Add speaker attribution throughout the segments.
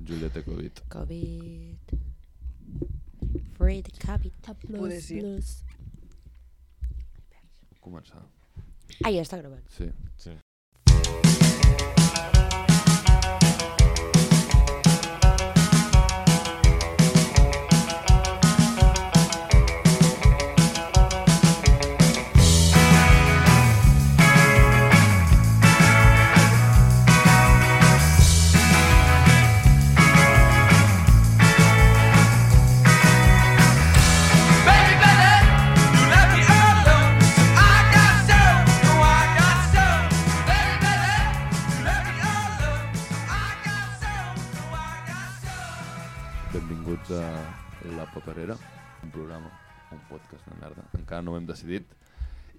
Speaker 1: Julieta Covid.
Speaker 2: Covid. Fred, Covid,
Speaker 3: Poder
Speaker 2: plus,
Speaker 3: sí.
Speaker 2: plus.
Speaker 1: Començar.
Speaker 2: Ai, està gravant.
Speaker 1: Sí.
Speaker 4: Sí.
Speaker 5: Baby, baby, you left me alone. I got served. No, I got served. Baby, baby, you left me alone. I got served. No, I got served.
Speaker 1: Benvinguts a La Paperera, un programa, un podcast de merda. Encara no ho hem decidit.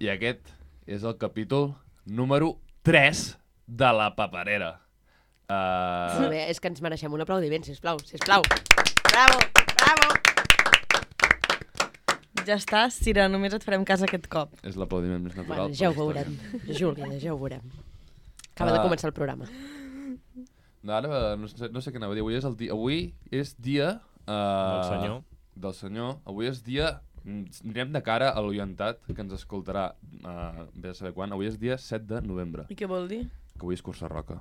Speaker 1: I aquest és el capítol número 3 de La Paperera.
Speaker 2: Molt
Speaker 1: Uh,
Speaker 2: bé, és que ens mereixem un aplaudiment, sisplau, sisplau. Bravo, bravo.
Speaker 3: Ja està, Sira, només et farem cas aquest cop.
Speaker 1: és l'aplaudiment més natural.
Speaker 2: Bueno, ja ho
Speaker 1: de la història.
Speaker 2: veurem, Júlia, ja ho veurem. Acaba de
Speaker 1: Ah.
Speaker 2: començar el programa.
Speaker 1: No, ara eh, no sé, no sé què anava a dir. Avui és, el dia, avui és dia... Uh,
Speaker 4: Del senyor.
Speaker 1: Del senyor. Avui és dia... mm, Anirem de cara a l'orientat, que ens escoltarà uh, bé a saber quan. Avui és dia 7 de novembre,
Speaker 3: I què vol dir?
Speaker 1: que avui és cursa roca.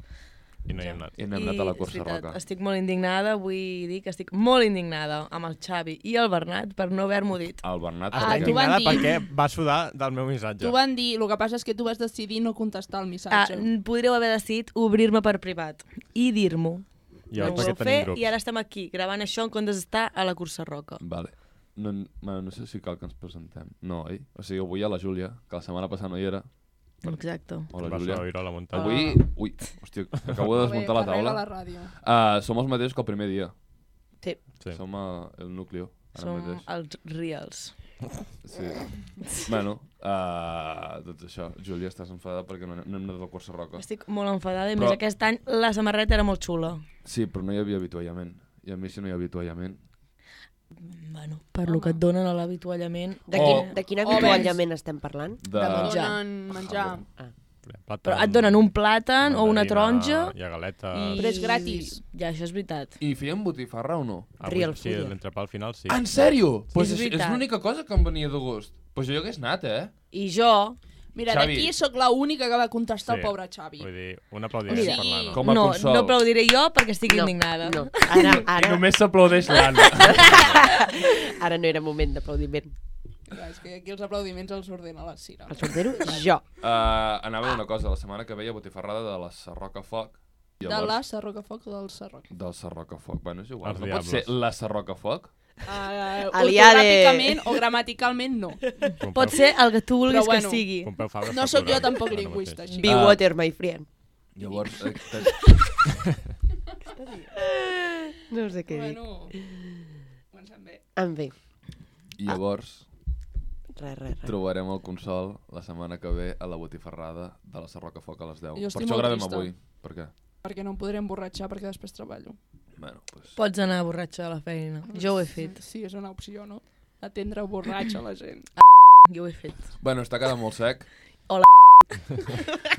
Speaker 4: I no hi hem anat.
Speaker 1: I hem anat a la
Speaker 3: és
Speaker 1: cursa
Speaker 3: veritat,
Speaker 1: roca.
Speaker 3: Estic molt indignada, vull dir que estic molt indignada amb el Xavi i el Bernat per no haver-m'ho dit.
Speaker 1: El Bernat...
Speaker 4: Està
Speaker 6: Ah,
Speaker 1: perquè-
Speaker 6: tu vas-
Speaker 4: indignada
Speaker 6: van dir-
Speaker 4: perquè va sudar del meu missatge.
Speaker 6: T'ho van dir, el que passa és que tu vas decidir no contestar el
Speaker 3: Ah,
Speaker 6: missatge.
Speaker 3: n- podríeu haver decidit obrir-me per privat i dir-m'ho.
Speaker 4: Jo,
Speaker 3: no ho
Speaker 4: perquè
Speaker 3: vau fer
Speaker 4: tenim grups.
Speaker 3: i ara estem aquí, gravant això en comptes d'estar a la cursa roca.
Speaker 1: Vale. No, bueno, no sé si cal que ens presentem. No, oi? O sigui, avui hi ha la Júlia, que la setmana passada no hi era.
Speaker 3: Exacte.
Speaker 1: Hola,
Speaker 4: Vas
Speaker 1: Júlia.
Speaker 4: a oir a la muntanya.
Speaker 1: Avui... Ui, hòstia, acabo de
Speaker 6: Bé,
Speaker 1: desmuntar la
Speaker 6: carrega
Speaker 1: taula.
Speaker 6: la ràdio.
Speaker 1: Uh, som els mateixos que el primer dia.
Speaker 2: Sí.
Speaker 4: Sí.
Speaker 1: Som uh, el núcleo. Ara
Speaker 3: Som
Speaker 1: mateix.
Speaker 3: els reals.
Speaker 1: Sí. bueno, uh, doncs això, Júlia, estàs enfadada perquè no, no hem anat al Corsa Roca.
Speaker 3: Estic molt enfadada i
Speaker 1: Però-
Speaker 3: més aquest any la samarreta era molt xula.
Speaker 1: Sí, però no hi havia avituallament. I a mi si no hi ha avituallament...
Speaker 3: Bueno, per lo que et donen a l'avituallament...
Speaker 2: De,
Speaker 1: Oh.
Speaker 2: quin, de quin
Speaker 6: Oh,
Speaker 2: avituallament estem parlant?
Speaker 1: De...
Speaker 3: De menjar.
Speaker 6: Donen menjar.
Speaker 1: Ah,
Speaker 4: Plàtan,
Speaker 3: Però et donen un plàtan o una
Speaker 4: mandarina,
Speaker 3: taronja...
Speaker 4: Hi ha galetes...
Speaker 1: Eh,
Speaker 3: I...
Speaker 6: Però és gratis.
Speaker 3: Ja, això és veritat.
Speaker 1: I feien botifarra o no?
Speaker 4: Avui,
Speaker 2: Real
Speaker 4: sí,
Speaker 2: food.
Speaker 4: l'entrepà al final sí.
Speaker 1: Ah, en sèrio? Pues
Speaker 3: és
Speaker 1: és, és
Speaker 3: veritat.
Speaker 1: l'única cosa que em venia de gust. Pues jo hi hagués anat, eh?
Speaker 3: I jo...
Speaker 6: Mira,
Speaker 1: Xavi.
Speaker 6: d'aquí sóc la única que va contestar el
Speaker 4: Sí.
Speaker 6: pobre Xavi.
Speaker 4: Vull dir, un aplaudiment
Speaker 3: Mira.
Speaker 4: per l'Anna.
Speaker 1: Com a
Speaker 3: No,
Speaker 1: consol.
Speaker 3: no aplaudiré jo perquè estic
Speaker 2: No,
Speaker 3: indignada.
Speaker 2: no. Ara, ara,
Speaker 1: s'aplaudeix l'Anna.
Speaker 2: ara no era moment d'aplaudiment.
Speaker 6: Clar, és que aquí els aplaudiments els ordena la Sira.
Speaker 2: El sortero, jo.
Speaker 1: uh, anava a dir una cosa, la setmana que veia botifarrada de la Sarroca Foc.
Speaker 6: De la Sarroca Foc o del Sarroca?
Speaker 1: Del Sarroca Foc. Bueno, és igual.
Speaker 4: Els
Speaker 1: no pot ser
Speaker 4: diables.
Speaker 1: la Sarroca Foc?
Speaker 3: Ah,
Speaker 6: Uh,
Speaker 2: Aliade.
Speaker 6: ortogràficament o gramaticalment no.
Speaker 4: Pompeu-
Speaker 3: Pot ser el que tu vulguis
Speaker 6: Però bueno.
Speaker 3: que sigui.
Speaker 4: Pompeu Fabra
Speaker 6: No
Speaker 4: fa
Speaker 6: sóc jo
Speaker 4: plorar,
Speaker 6: tampoc
Speaker 4: ara mateix.
Speaker 6: lingüista, així.
Speaker 2: Be
Speaker 1: Ah.
Speaker 2: water, my friend.
Speaker 1: Llavors... Eh, te-
Speaker 2: No sé què dir.
Speaker 6: Bueno, comencem bé.
Speaker 2: En fi,
Speaker 1: llavors...
Speaker 2: res, res, res.
Speaker 1: trobarem el consol la setmana que ve a la botifarrada de la Sarroca Foc a les 10.
Speaker 6: Jo estic
Speaker 1: per això
Speaker 6: molt
Speaker 1: gravem
Speaker 6: trista.
Speaker 1: avui. Per què?
Speaker 6: Perquè no em podré emborratxar perquè després treballo.
Speaker 1: Bueno, pues...
Speaker 3: Pots anar borratxa a la feina. Jo ho he fet.
Speaker 6: Sí, és una opció, no? Atendre borratxa la gent.
Speaker 3: Jo ho he fet.
Speaker 1: Bueno, està quedant molt sec.
Speaker 3: Hola.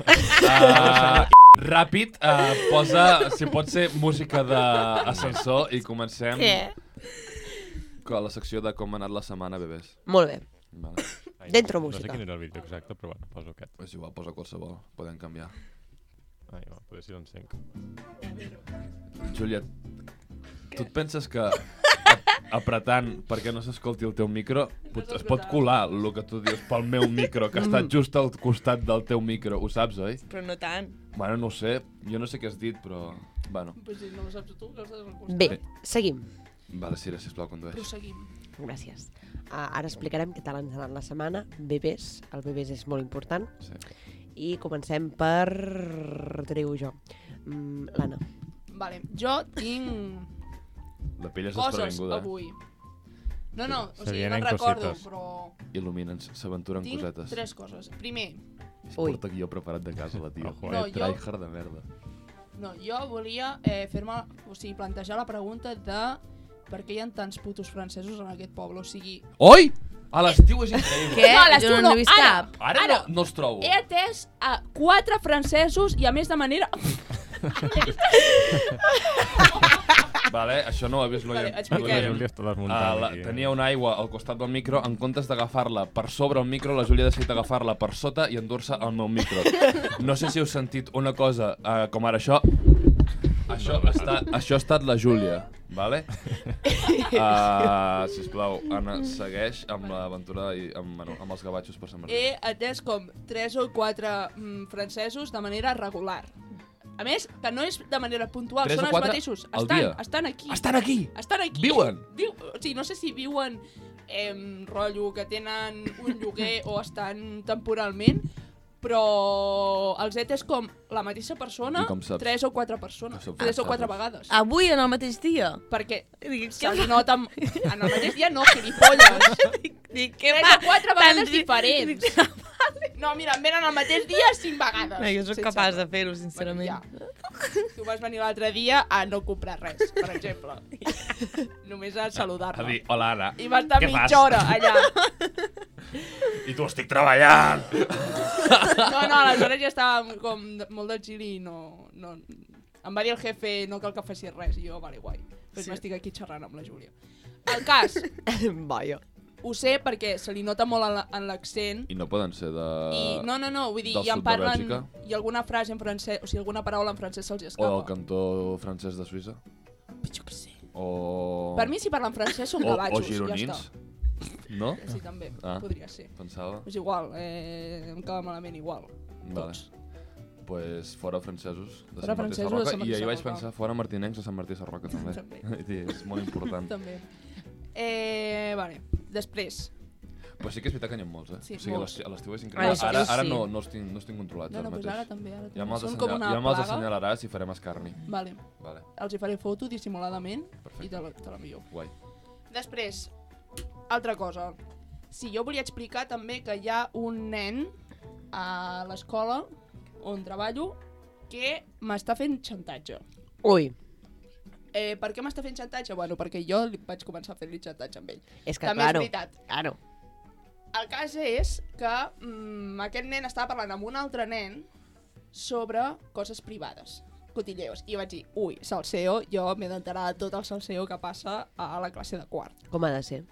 Speaker 1: Uh, ràpid, uh, posa, si pot ser, música d'ascensor i comencem a la secció de com ha anat la setmana, bebès.
Speaker 2: Molt bé.
Speaker 1: Vale.
Speaker 4: Ai,
Speaker 2: Dentro
Speaker 4: No
Speaker 2: música.
Speaker 4: sé quin era el vídeo exacte, però bueno, poso aquest.
Speaker 1: És igual, posa qualsevol, podem canviar.
Speaker 4: Ai, va, poder si l'encenc.
Speaker 1: Juliet, tu et penses que apretant perquè no s'escolti el teu micro pot, es pot colar el que tu dius pel meu micro, que està just al costat del teu micro, ho saps, oi?
Speaker 3: Però no tant.
Speaker 1: Bueno, no ho sé, jo no sé què has dit, però... Bueno,
Speaker 6: Pues si no ho saps tu, que estàs al costat.
Speaker 2: Bé, seguim.
Speaker 1: vale, Sira, sisplau, condueix.
Speaker 6: Proseguim.
Speaker 2: Gràcies. Uh, ara explicarem què tal ens ha anat la setmana. Bebès, el bebès és molt important.
Speaker 1: Sí.
Speaker 2: I comencem per... Trigo jo. Mm, L'Anna.
Speaker 6: Vale, jo tinc
Speaker 1: La pell és eh?
Speaker 6: coses
Speaker 1: desprevinguda,
Speaker 6: avui. No, no, o
Speaker 4: Se
Speaker 6: sigui,
Speaker 4: vienen
Speaker 6: me'n recordo,
Speaker 4: cositas.
Speaker 6: però
Speaker 1: eh? Il·lumina'ns, s'aventuren
Speaker 6: tinc
Speaker 1: cosetes.
Speaker 6: tres coses. Primer,
Speaker 1: Es
Speaker 2: Ui.
Speaker 1: porta guió preparat de casa, la tia.
Speaker 4: Ojo,
Speaker 6: eh. No,
Speaker 1: eh,
Speaker 6: jo-
Speaker 1: tryhard de merda.
Speaker 6: no, jo volia eh, fer-me, o sigui, plantejar la pregunta de per què hi ha tants putos francesos en aquest poble, o sigui...
Speaker 1: Oi! A l'estiu és increïble.
Speaker 3: Què?
Speaker 6: No, a l'estiu
Speaker 3: jo no n'he
Speaker 6: no,
Speaker 3: vist
Speaker 6: ara.
Speaker 3: cap.
Speaker 1: Ara,
Speaker 6: Ara.
Speaker 1: no, no els trobo.
Speaker 6: He atès a quatre francesos i a més de manera...
Speaker 1: Vale, això no ho ha vist l'Oia.
Speaker 6: Vale, expliquem.
Speaker 1: l'Oia.
Speaker 4: La Júlia està
Speaker 1: Ah,
Speaker 4: desmuntant eh,
Speaker 1: la,
Speaker 4: aquí.
Speaker 1: tenia una aigua al costat del micro, en comptes d'agafar-la per sobre el micro, la Júlia ha decidit agafar-la per sota i endur-se el meu micro. No sé si heu sentit una cosa eh, com ara això. Això, no, està, això ha estat la Júlia, vale? Uh, sisplau, Anna, segueix amb l'aventura i amb, bueno, amb els gavatxos per Sant Martí.
Speaker 6: He atès com 3 o 4 mm, francesos de manera regular. A més, que no és de manera puntual,
Speaker 1: Tres o
Speaker 6: són els
Speaker 1: quatre
Speaker 6: mateixos.
Speaker 1: al
Speaker 6: Estan,
Speaker 1: dia.
Speaker 6: estan aquí.
Speaker 1: Estan aquí!
Speaker 6: Estan aquí.
Speaker 1: Viuen.
Speaker 6: Diu, o sigui, no sé si viuen em, rotllo que tenen un lloguer o estan temporalment, però els et és com la mateixa persona,
Speaker 1: I com saps?
Speaker 6: tres o quatre persones,
Speaker 1: Com saps?
Speaker 6: tres o quatre
Speaker 1: Ah,
Speaker 6: vegades. Ah.
Speaker 3: Avui, en el mateix dia.
Speaker 6: Perquè
Speaker 3: Dic,
Speaker 6: se
Speaker 3: què
Speaker 6: li
Speaker 3: fa?
Speaker 6: nota... amb- En el mateix dia no, gilipolles.
Speaker 3: Dic, què
Speaker 6: Tres
Speaker 3: fa?
Speaker 6: o quatre vegades
Speaker 3: Tant-
Speaker 6: diferents.
Speaker 3: Dic,
Speaker 6: No, mira, em venen el mateix dia cinc vegades.
Speaker 3: No, jo soc
Speaker 6: Sense
Speaker 3: capaç
Speaker 6: res.
Speaker 3: de fer-ho,
Speaker 6: Bueno,
Speaker 3: sincerament.
Speaker 6: ja. Tu vas venir l'altre dia a no comprar res, per exemple. Només a
Speaker 1: A
Speaker 6: saludar-la.
Speaker 1: dir, hola, Anna.
Speaker 6: I va estar
Speaker 1: Què
Speaker 6: mitja
Speaker 1: fas?
Speaker 6: hora allà.
Speaker 1: I tu estic treballant!
Speaker 6: No, no, aleshores ja estava com de- molt d'exili i no, no... Em va dir el jefe, no cal que facis res. I jo, vale, guai. Doncs
Speaker 3: Sí.
Speaker 6: sí. m'estic aquí xerrant amb la Júlia. El cas,
Speaker 2: Vaja.
Speaker 6: ho sé perquè se li nota molt en la- en l'accent.
Speaker 1: I no poden ser de...
Speaker 6: I, no, no, no, vull dir,
Speaker 1: Eh, del
Speaker 6: i
Speaker 1: sud
Speaker 6: en
Speaker 1: de
Speaker 6: parlen...
Speaker 1: Bèlgica?
Speaker 6: I alguna frase en francès, o sigui, alguna paraula en francès se'ls
Speaker 1: O del
Speaker 6: escapa.
Speaker 1: cantó francès de Suïssa?
Speaker 6: Jo què sé.
Speaker 1: O...
Speaker 6: Per mi, si parlen francès, són
Speaker 1: o, o
Speaker 6: gavatxos, ja
Speaker 1: gironins?
Speaker 6: està.
Speaker 1: No?
Speaker 6: Sí, també,
Speaker 1: Ah.
Speaker 6: ah. podria ser.
Speaker 1: Pensava.
Speaker 6: És igual, eh, em acaba malament igual.
Speaker 1: Vale.
Speaker 6: Tots.
Speaker 1: pues fora francesos de
Speaker 6: Fora
Speaker 1: Sant Martí
Speaker 6: francesos de
Speaker 1: Sarroca.
Speaker 6: Sant Martí
Speaker 1: I ahir vaig
Speaker 6: Sarroca.
Speaker 1: pensar fora martinencs de Sant Martí Sarroca, també.
Speaker 6: També.
Speaker 1: Vull dir, és molt important.
Speaker 6: També. Eh, vale. Després.
Speaker 1: Però sí que és veritat que n'hi ha molts, eh?
Speaker 6: Sí,
Speaker 1: o sigui, a
Speaker 6: molts.
Speaker 1: l'esti- a l'estiu és
Speaker 3: A
Speaker 1: increïble.
Speaker 3: l'estiu
Speaker 1: Ara, ara
Speaker 3: sí.
Speaker 1: no, no, els tinc, no els tinc controlats
Speaker 6: No, no,
Speaker 1: ara
Speaker 6: pues
Speaker 1: mateix.
Speaker 6: ara també, ara
Speaker 1: ja
Speaker 6: també.
Speaker 1: me'ls
Speaker 6: Són com
Speaker 1: assenyal-
Speaker 6: una
Speaker 1: ja me'ls
Speaker 6: plaga.
Speaker 1: assenyalaràs i farem escarni.
Speaker 6: Vale.
Speaker 1: Vale,
Speaker 6: Els hi faré foto dissimuladament i
Speaker 1: perfecte.
Speaker 6: te, la- te l'envio.
Speaker 1: Guai.
Speaker 6: Després, altra cosa. Sí, jo volia explicar també que hi ha un nen a l'escola on treballo que m'està fent xantatge.
Speaker 2: Ui,
Speaker 6: Eh, per què m'està fent xantatge? Bueno, perquè jo li- vaig començar a fer-li xantatge amb ell.
Speaker 2: és que
Speaker 6: també
Speaker 2: claro.
Speaker 6: és veritat.
Speaker 2: Claro.
Speaker 6: El cas és que mm, aquest nen estava parlant amb un altre nen sobre coses privades, cotilleos. I jo vaig dir, ui, salseo, jo m'he d'enterar de tot el salseo que passa a la classe de quart.
Speaker 2: Com ha de ser.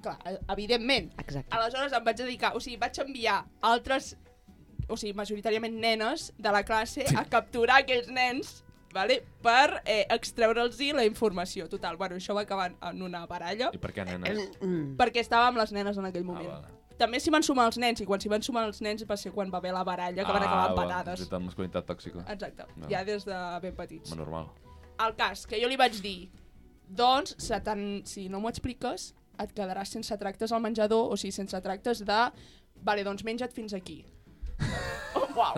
Speaker 6: Clar, eh, evidentment.
Speaker 2: Exacte.
Speaker 6: Aleshores em vaig dedicar, o sigui, vaig enviar altres, o sigui, majoritàriament nenes de la classe a capturar aquells nens vale? per eh, extreure'ls la informació. Total, bueno, això va acabar en una baralla
Speaker 1: I per què, nenes?
Speaker 2: Mm.
Speaker 6: perquè estava amb les nenes en aquell moment.
Speaker 1: Ah, vale.
Speaker 6: També s'hi van sumar els nens, i quan s'hi van sumar els nens va ser quan va haver la baralla, que van acabar amb patades.
Speaker 1: Ah, va, masculinitat tòxica.
Speaker 6: Exacte,
Speaker 1: No.
Speaker 6: ja des de ben petits.
Speaker 1: Ma normal.
Speaker 6: El cas, que jo li vaig dir, doncs, se t'han- si no m'ho expliques, et quedaràs sense tractes al menjador, o sigui, sense tractes de... Vale, doncs menja't fins aquí. Oh, uau,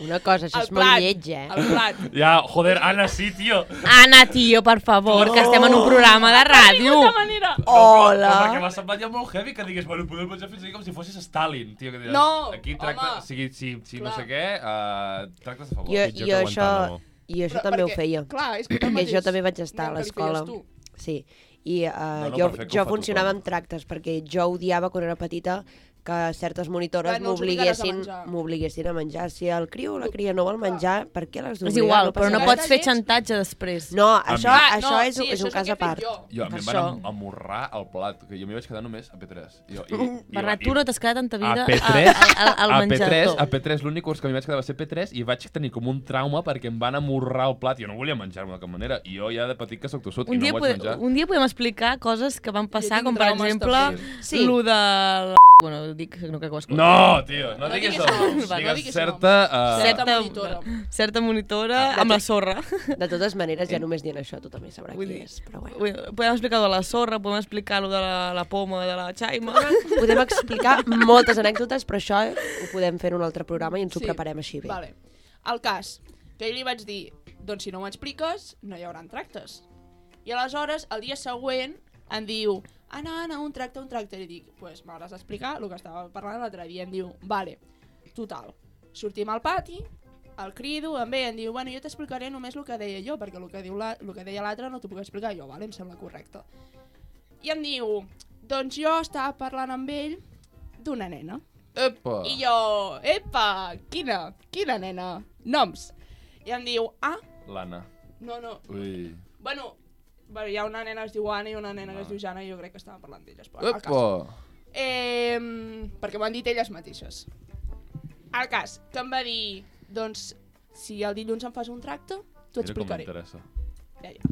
Speaker 2: Una cosa, això
Speaker 6: El
Speaker 2: és molt
Speaker 6: plat.
Speaker 2: lletja, eh?
Speaker 6: el plat.
Speaker 1: Ja, joder, Anna, sí, tio!
Speaker 3: Anna, tio, per favor, que estem
Speaker 2: Oh.
Speaker 3: en un programa de ràdio.
Speaker 6: De tota manera...
Speaker 1: Però perquè
Speaker 2: Hola!
Speaker 1: m'ha semblat ja molt heavy que digués, bueno, podem menjar fins aquí com si fossis Stalin, tio, que diràs,
Speaker 6: No,
Speaker 1: aquí tracta,
Speaker 6: home.
Speaker 1: o sigui, si, si no
Speaker 6: Clar.
Speaker 1: sé què, uh, tractes a favor.
Speaker 2: Jo,
Speaker 4: Pitjor que
Speaker 2: jo això,
Speaker 4: Guantánamo.
Speaker 2: jo això
Speaker 6: Però
Speaker 2: també ho
Speaker 6: perquè,
Speaker 2: feia.
Speaker 6: Clar, és que, tu
Speaker 2: Que
Speaker 6: mateix,
Speaker 2: jo també vaig estar a
Speaker 6: nen, que li
Speaker 2: l'escola.
Speaker 6: feies tu.
Speaker 2: Sí, i uh,
Speaker 1: no,
Speaker 2: jo,
Speaker 1: perfecte, ho
Speaker 2: jo
Speaker 1: fa
Speaker 2: funcionava
Speaker 1: tothom.
Speaker 2: amb tractes, perquè jo odiava quan era petita que certes monitores
Speaker 6: Clar, no els obligaràs a
Speaker 2: m'obliguessin
Speaker 6: menjar.
Speaker 2: m'obliguessin a menjar. Si el criu o la cria no vol menjar, per què l'has
Speaker 3: És
Speaker 2: d'obligar?
Speaker 3: igual, però
Speaker 2: passa
Speaker 3: no
Speaker 2: res.
Speaker 3: pots fer
Speaker 6: Ets-
Speaker 3: xantatge després.
Speaker 2: No, això,
Speaker 6: Ah,
Speaker 2: això
Speaker 6: no,
Speaker 2: és,
Speaker 6: sí,
Speaker 2: és
Speaker 6: això
Speaker 2: un cas
Speaker 6: el
Speaker 2: a
Speaker 6: que he fet
Speaker 2: part.
Speaker 6: jo.
Speaker 1: Jo, a mi em
Speaker 3: Per
Speaker 1: van
Speaker 3: això.
Speaker 1: am- amorrar el plat, que jo m'hi vaig quedar només a P3. Jo, i, i,
Speaker 3: Bernat,
Speaker 1: i-
Speaker 3: tu no t'has quedat en ta vida
Speaker 1: A P3,
Speaker 3: a- a- a- al
Speaker 1: a P3,
Speaker 3: menjador.
Speaker 1: a P3 l'únic curs que m'hi vaig quedar va ser P3 i vaig tenir com un trauma perquè em van amorrar el plat. Jo no volia menjar-me de cap manera. I jo ja de petit que sóc tossut
Speaker 3: Un
Speaker 1: i
Speaker 3: dia,
Speaker 1: no vaig
Speaker 3: pode-
Speaker 1: menjar.
Speaker 3: un dia podem explicar coses que van passar,
Speaker 6: tinc
Speaker 3: com per
Speaker 6: traumes,
Speaker 3: exemple,
Speaker 6: també.
Speaker 2: Sí.
Speaker 3: lo de... la- Bueno, dic, no crec que ho escolti.
Speaker 1: No, tio, no,
Speaker 6: No
Speaker 1: diguis
Speaker 6: diguis
Speaker 1: això.
Speaker 6: noms, va, no
Speaker 1: Digues
Speaker 6: diguis
Speaker 1: certa... Uh,
Speaker 6: Certa
Speaker 3: Certa-
Speaker 6: monitora. Ah,
Speaker 3: Certa monitora amb la sorra.
Speaker 2: De totes maneres,
Speaker 1: Eh?
Speaker 2: ja només dient això, tu també sabrà
Speaker 3: Vull
Speaker 2: qui
Speaker 3: dir-
Speaker 2: és, però bueno.
Speaker 3: Bé, Podem explicar lo de la sorra, podem explicar lo de la, la poma, de la xaima...
Speaker 2: Podem explicar moltes anècdotes, però això ho podem fer en un altre programa i ens ho
Speaker 6: Sí,
Speaker 2: preparem així bé.
Speaker 6: Vale. El cas, que jo li vaig dir, doncs si no m'expliques, no hi haurà tractes. I aleshores, el dia següent, em diu, Anna, Anna, un tracte, un tracte. I li dic, pues m'hauràs d'explicar el que estava parlant l'altre dia. Em diu, vale, total. Sortim al pati, el crido, em ve i em diu, bueno, jo t'explicaré només el que deia jo, perquè el que, diu la, el que deia l'altre no t'ho puc explicar jo, vale? em sembla correcte. I em diu, doncs jo estava parlant amb ell d'una nena.
Speaker 1: Epa.
Speaker 6: I jo, epa, quina, quina nena, noms. I em diu, ah,
Speaker 1: L'Anna.
Speaker 6: no, no,
Speaker 1: Ui.
Speaker 6: Bueno, bueno, hi ha una nena que es diu Anna i una nena que es diu Jana i jo crec que estava parlant d'elles. però al cas.
Speaker 1: Ah. Epa!
Speaker 6: Eh, perquè m'ho han dit elles mateixes. El cas, que em va dir, doncs, si el dilluns em fas un tracte, t'ho
Speaker 1: Mira com
Speaker 6: explicaré.
Speaker 1: m'interessa.
Speaker 6: Ja, ja.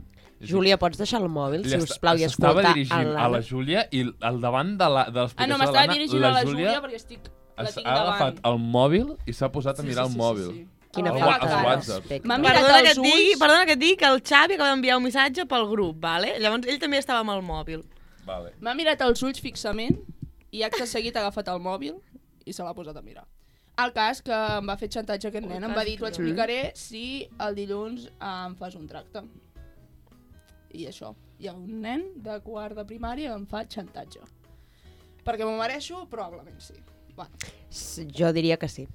Speaker 2: Júlia, pots deixar el mòbil, si us plau, i
Speaker 1: Estava
Speaker 2: escoltar
Speaker 1: dirigint a la Júlia i al davant de la- de
Speaker 6: Ah,
Speaker 1: l'explicació
Speaker 6: no,
Speaker 1: de l'Anna,
Speaker 6: m'estava dirigint a la Júlia perquè estic... La
Speaker 1: es-
Speaker 6: tinc
Speaker 1: ha agafat
Speaker 6: davant.
Speaker 1: el mòbil i s'ha posat a mirar el mòbil.
Speaker 2: Quina
Speaker 1: Al
Speaker 6: Al
Speaker 1: wa-
Speaker 2: falta
Speaker 1: al
Speaker 6: WhatsApp.
Speaker 2: de
Speaker 1: WhatsApp.
Speaker 2: respecte.
Speaker 6: M'ha mirat
Speaker 3: Perdona que,
Speaker 6: als
Speaker 3: et digui,
Speaker 6: ulls.
Speaker 3: perdona que et digui que el Xavi acaba d'enviar un missatge pel grup, vale? llavors ell també estava amb el mòbil.
Speaker 1: Vale.
Speaker 6: M'ha mirat els ulls fixament i acte seguit ha agafat el mòbil i se l'ha posat a mirar. El cas que em va fer xantatge aquest nen, em va dir, t'ho explicaré si el dilluns eh, em fas un tracte. I això, hi ha un nen de quart de primària que em fa xantatge. Perquè m'ho mereixo? Probablement sí. Bueno.
Speaker 2: S- Jo diria que sí.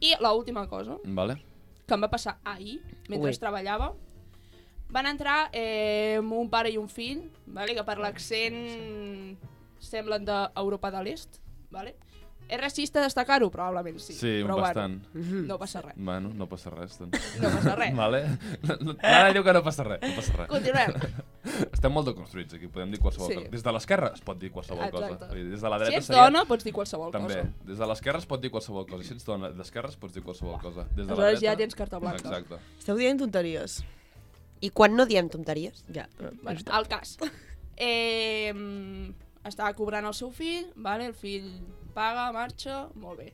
Speaker 6: I l'última cosa,
Speaker 1: Vale.
Speaker 6: que em va passar ahir, mentre
Speaker 2: Ui.
Speaker 6: Ui. treballava, van entrar eh, un pare i un fill, vale, que per l'accent semblen d'Europa de l'Est. Vale? És racista destacar-ho? Probablement sí.
Speaker 1: Sí,
Speaker 6: però
Speaker 1: bastant.
Speaker 6: Bueno, no passa res.
Speaker 1: Bueno, no passa res, doncs.
Speaker 6: No passa res.
Speaker 1: Vale? No- no- L'Anna diu que no passa res, no passa res.
Speaker 6: Continuem.
Speaker 1: Estem molt deconstruïts aquí, podem dir qualsevol
Speaker 6: Sí.
Speaker 1: cosa. Des de l'esquerra es pot dir qualsevol cosa.
Speaker 6: Exacte.
Speaker 1: Vull dir, Des de la
Speaker 6: Si
Speaker 1: dreta
Speaker 6: ets dona, pots dir qualsevol
Speaker 1: També.
Speaker 6: cosa.
Speaker 1: Des de l'esquerra es pot dir qualsevol cosa. Si ets dona d'esquerra es pots dir qualsevol cosa. Des de la
Speaker 6: Aleshores
Speaker 1: dreta...
Speaker 6: ja tens carta blanca.
Speaker 1: Exacte.
Speaker 3: Esteu dient tonteries.
Speaker 2: I quan no diem tonteries?
Speaker 3: Ja,
Speaker 6: Bueno, el cas. Eh, mm, estava cobrant el seu fill, vale? el fill paga, marxa, molt bé.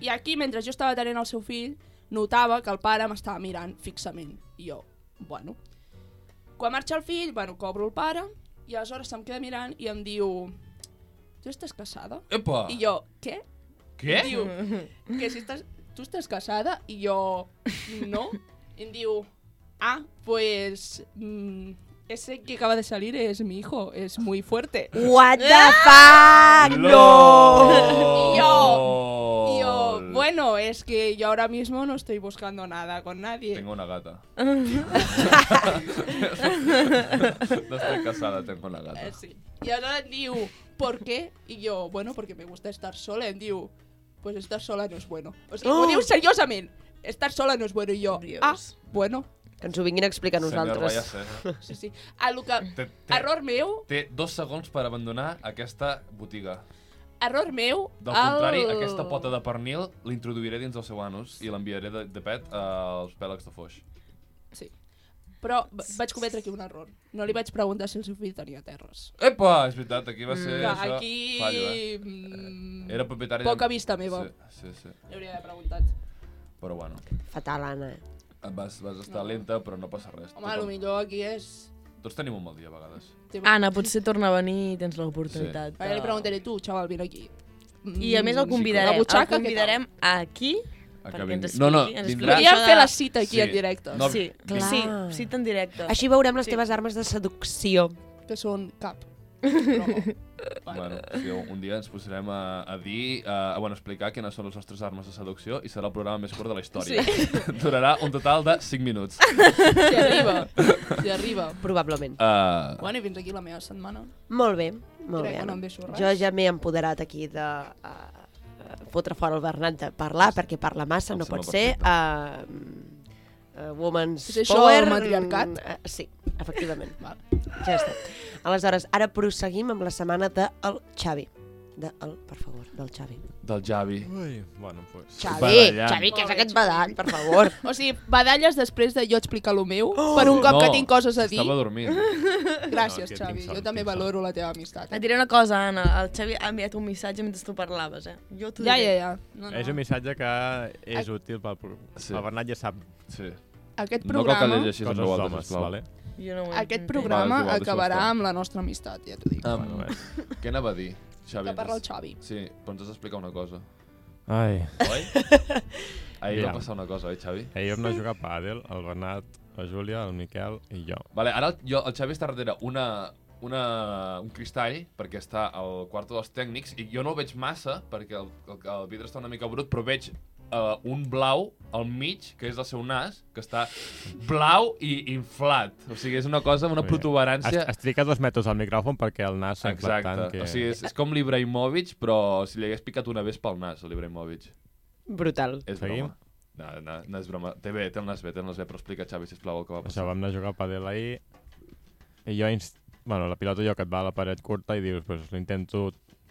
Speaker 6: I aquí, mentre jo estava atenent el seu fill, notava que el pare m'estava mirant fixament. I jo, bueno... Quan marxa el fill, bueno, cobro el pare, i aleshores se'm queda mirant i em diu... Tu estàs casada?
Speaker 1: Epa!
Speaker 6: I jo, què?
Speaker 1: Què?
Speaker 6: Em diu, que si estàs, tu estàs casada? I jo, no. I em diu, ah, pues... Mm, ese que acaba de salir es mi hijo, es muy fuerte.
Speaker 2: What the fuck?
Speaker 1: No!
Speaker 6: I jo- Y yo, bueno, es que yo ahora mismo no estoy buscando nada con nadie.
Speaker 1: Tengo una gata. no estoy casada, tengo una gata.
Speaker 6: Eh, sí. I aleshores em diu, ¿por qué? I jo, bueno, porque me gusta estar sola. Em diu, pues estar sola no es bueno. O sigui, oh!
Speaker 3: Oh!
Speaker 6: ho diu seriosament. Estar sola no es bueno. I jo,
Speaker 3: Dios.
Speaker 6: ah, bueno.
Speaker 2: Que ens ho vinguin a explicar a
Speaker 1: Senyor
Speaker 2: nosaltres.
Speaker 1: Ballester,
Speaker 6: Sí, sí. A lo que...
Speaker 1: té, té,
Speaker 6: Error meu,
Speaker 1: té dos segons per abandonar aquesta botiga.
Speaker 6: error meu...
Speaker 1: Del contrari, aquesta pota de pernil l'introduiré dins del seu anus i l'enviaré de, de pet als pèlegs de foix.
Speaker 6: Sí. Però va- vaig cometre aquí un error. No li vaig preguntar si el seu fill tenia terres.
Speaker 1: Epa! És veritat, aquí va ser
Speaker 6: Que
Speaker 1: Eh, això.
Speaker 6: Mm, aquí...
Speaker 1: Fallo, eh?
Speaker 6: mm,
Speaker 1: Era propietari...
Speaker 6: Poca vista meva.
Speaker 1: Sí, sí, sí.
Speaker 6: Li hauria d'haver preguntat.
Speaker 1: Però bueno,
Speaker 2: Fatal, Anna. eh?
Speaker 1: vas, vas estar lenta, però no passa res.
Speaker 6: Home, el millor aquí és...
Speaker 1: tots tenim un mal dia a vegades.
Speaker 6: Ah,
Speaker 3: Anna, potser torna a venir i tens l'oportunitat.
Speaker 6: Ara li
Speaker 3: de-
Speaker 6: preguntaré, tu, xaval, vine aquí. Mm,
Speaker 3: I a més el
Speaker 6: La
Speaker 3: convidarem,
Speaker 6: butxaca,
Speaker 3: el convidarem aquí
Speaker 1: A que
Speaker 3: perquè
Speaker 1: vingui.
Speaker 3: ens
Speaker 1: No,
Speaker 3: expliqui,
Speaker 1: no,
Speaker 3: ens
Speaker 1: vindrà.
Speaker 3: expliqui
Speaker 6: Podríem
Speaker 3: això
Speaker 6: fer
Speaker 3: de-
Speaker 6: la cita aquí
Speaker 1: Sí.
Speaker 6: en directe.
Speaker 1: No,
Speaker 3: Sí,
Speaker 1: clar.
Speaker 3: sí,
Speaker 2: Clar.
Speaker 3: cita en directe.
Speaker 2: Així veurem les
Speaker 6: Sí.
Speaker 2: teves armes de seducció.
Speaker 6: Que són cap. No.
Speaker 1: Bueno, sí, un un dia ens posarem a, a dir, a, a, bueno, a explicar quines són les nostres armes de seducció i serà el programa més curt de la història. Sí. Durarà un total de 5 minuts.
Speaker 6: Si arriba. Si arriba.
Speaker 2: Probablement.
Speaker 1: Uh,
Speaker 6: Bueno, i fins aquí la meva setmana.
Speaker 2: Molt bé, molt
Speaker 6: Crec
Speaker 2: bé.
Speaker 6: que no
Speaker 2: Anna.
Speaker 6: em deixo res.
Speaker 2: Jo ja m'he empoderat aquí de uh, fotre fora el Bernat de parlar, perquè parla massa,
Speaker 1: Em
Speaker 2: no pot
Speaker 1: sembla
Speaker 2: ser. Uh, uh, woman's
Speaker 6: És això
Speaker 2: power...
Speaker 6: el matriarcat?
Speaker 2: Uh, sí, efectivament.
Speaker 6: Val.
Speaker 2: ja està. Aleshores, ara prosseguim amb la setmana del Xavi. De el, per favor, del Xavi.
Speaker 1: del Javi.
Speaker 4: Ui, bueno, pues...
Speaker 2: Xavi,
Speaker 1: Badallant.
Speaker 2: Xavi, què
Speaker 6: Molt
Speaker 2: és
Speaker 6: bé,
Speaker 2: aquest
Speaker 6: Xavi.
Speaker 2: badall, per favor?
Speaker 6: O sigui, badalles després de jo explicar lo meu, oh! per un cop no, que tinc coses a dir.
Speaker 1: Estava dormint.
Speaker 6: Gràcies,
Speaker 4: No, tinc
Speaker 6: Xavi.
Speaker 4: son,
Speaker 6: Jo també
Speaker 4: tinc son.
Speaker 6: valoro la teva amistat. eh?
Speaker 3: Et diré una cosa, Anna. El Xavi ha enviat un missatge mentre tu parlaves, eh? Jo t'ho
Speaker 6: Ja, ja,
Speaker 3: diré.
Speaker 6: ja. No,
Speaker 4: És un
Speaker 6: no.
Speaker 4: missatge que és útil pel... pro-
Speaker 1: Sí.
Speaker 4: El Bernat ja sap
Speaker 1: Sí. No
Speaker 6: Aquest
Speaker 1: cal que
Speaker 6: programa,
Speaker 1: llegeixis en
Speaker 4: coses
Speaker 1: veu alta,
Speaker 4: d'homes,
Speaker 1: sisplau.
Speaker 4: vale?
Speaker 3: Jo no ho
Speaker 6: aquest
Speaker 3: entenc.
Speaker 6: programa
Speaker 1: Va, és igual,
Speaker 6: acabarà
Speaker 1: deixa-ho
Speaker 6: amb la nostra amistat, ja t'ho dic.
Speaker 1: Um,
Speaker 4: Bueno, ves.
Speaker 1: què anava a dir, Xavi?
Speaker 6: Que parla el Xavi.
Speaker 1: Sí, però ens has d'explicar una cosa.
Speaker 4: Ai.
Speaker 1: Oi? Ahir
Speaker 4: Mira.
Speaker 1: va passar una cosa, oi, Xavi?
Speaker 4: Ahir vam anar a jugar a pàdel, el Bernat, la Júlia, el Miquel i jo.
Speaker 1: Vale, ara el, jo, el Xavi està darrere una, una, un cristall perquè està al quarto dels tècnics i jo no el veig massa perquè el, el, el vidre està una mica brut però veig uh, un blau al mig que és el seu nas que està blau i inflat o sigui és una cosa, una
Speaker 4: Bé,
Speaker 1: protuberància
Speaker 4: Has, has tricat dos metres al micròfon perquè el nas s'ha inflat tant
Speaker 1: Exacte,
Speaker 4: que...
Speaker 1: o sigui, és, és com l'Ibrahimovic, però si li hagués picat una vespa al nas, a l'Ibrahimovic.
Speaker 2: Brutal.
Speaker 1: És
Speaker 4: Seguim?
Speaker 1: broma. No, no, no és broma. Té bé, té el nas bé, té el nas bé, però explica, Xavi, sisplau, el que va
Speaker 4: Això,
Speaker 1: passar.
Speaker 4: vam anar a jugar a padel ahir, I jo... Inst... Bueno, la pilota jo que et va a la paret curta i dius, pues, l'intento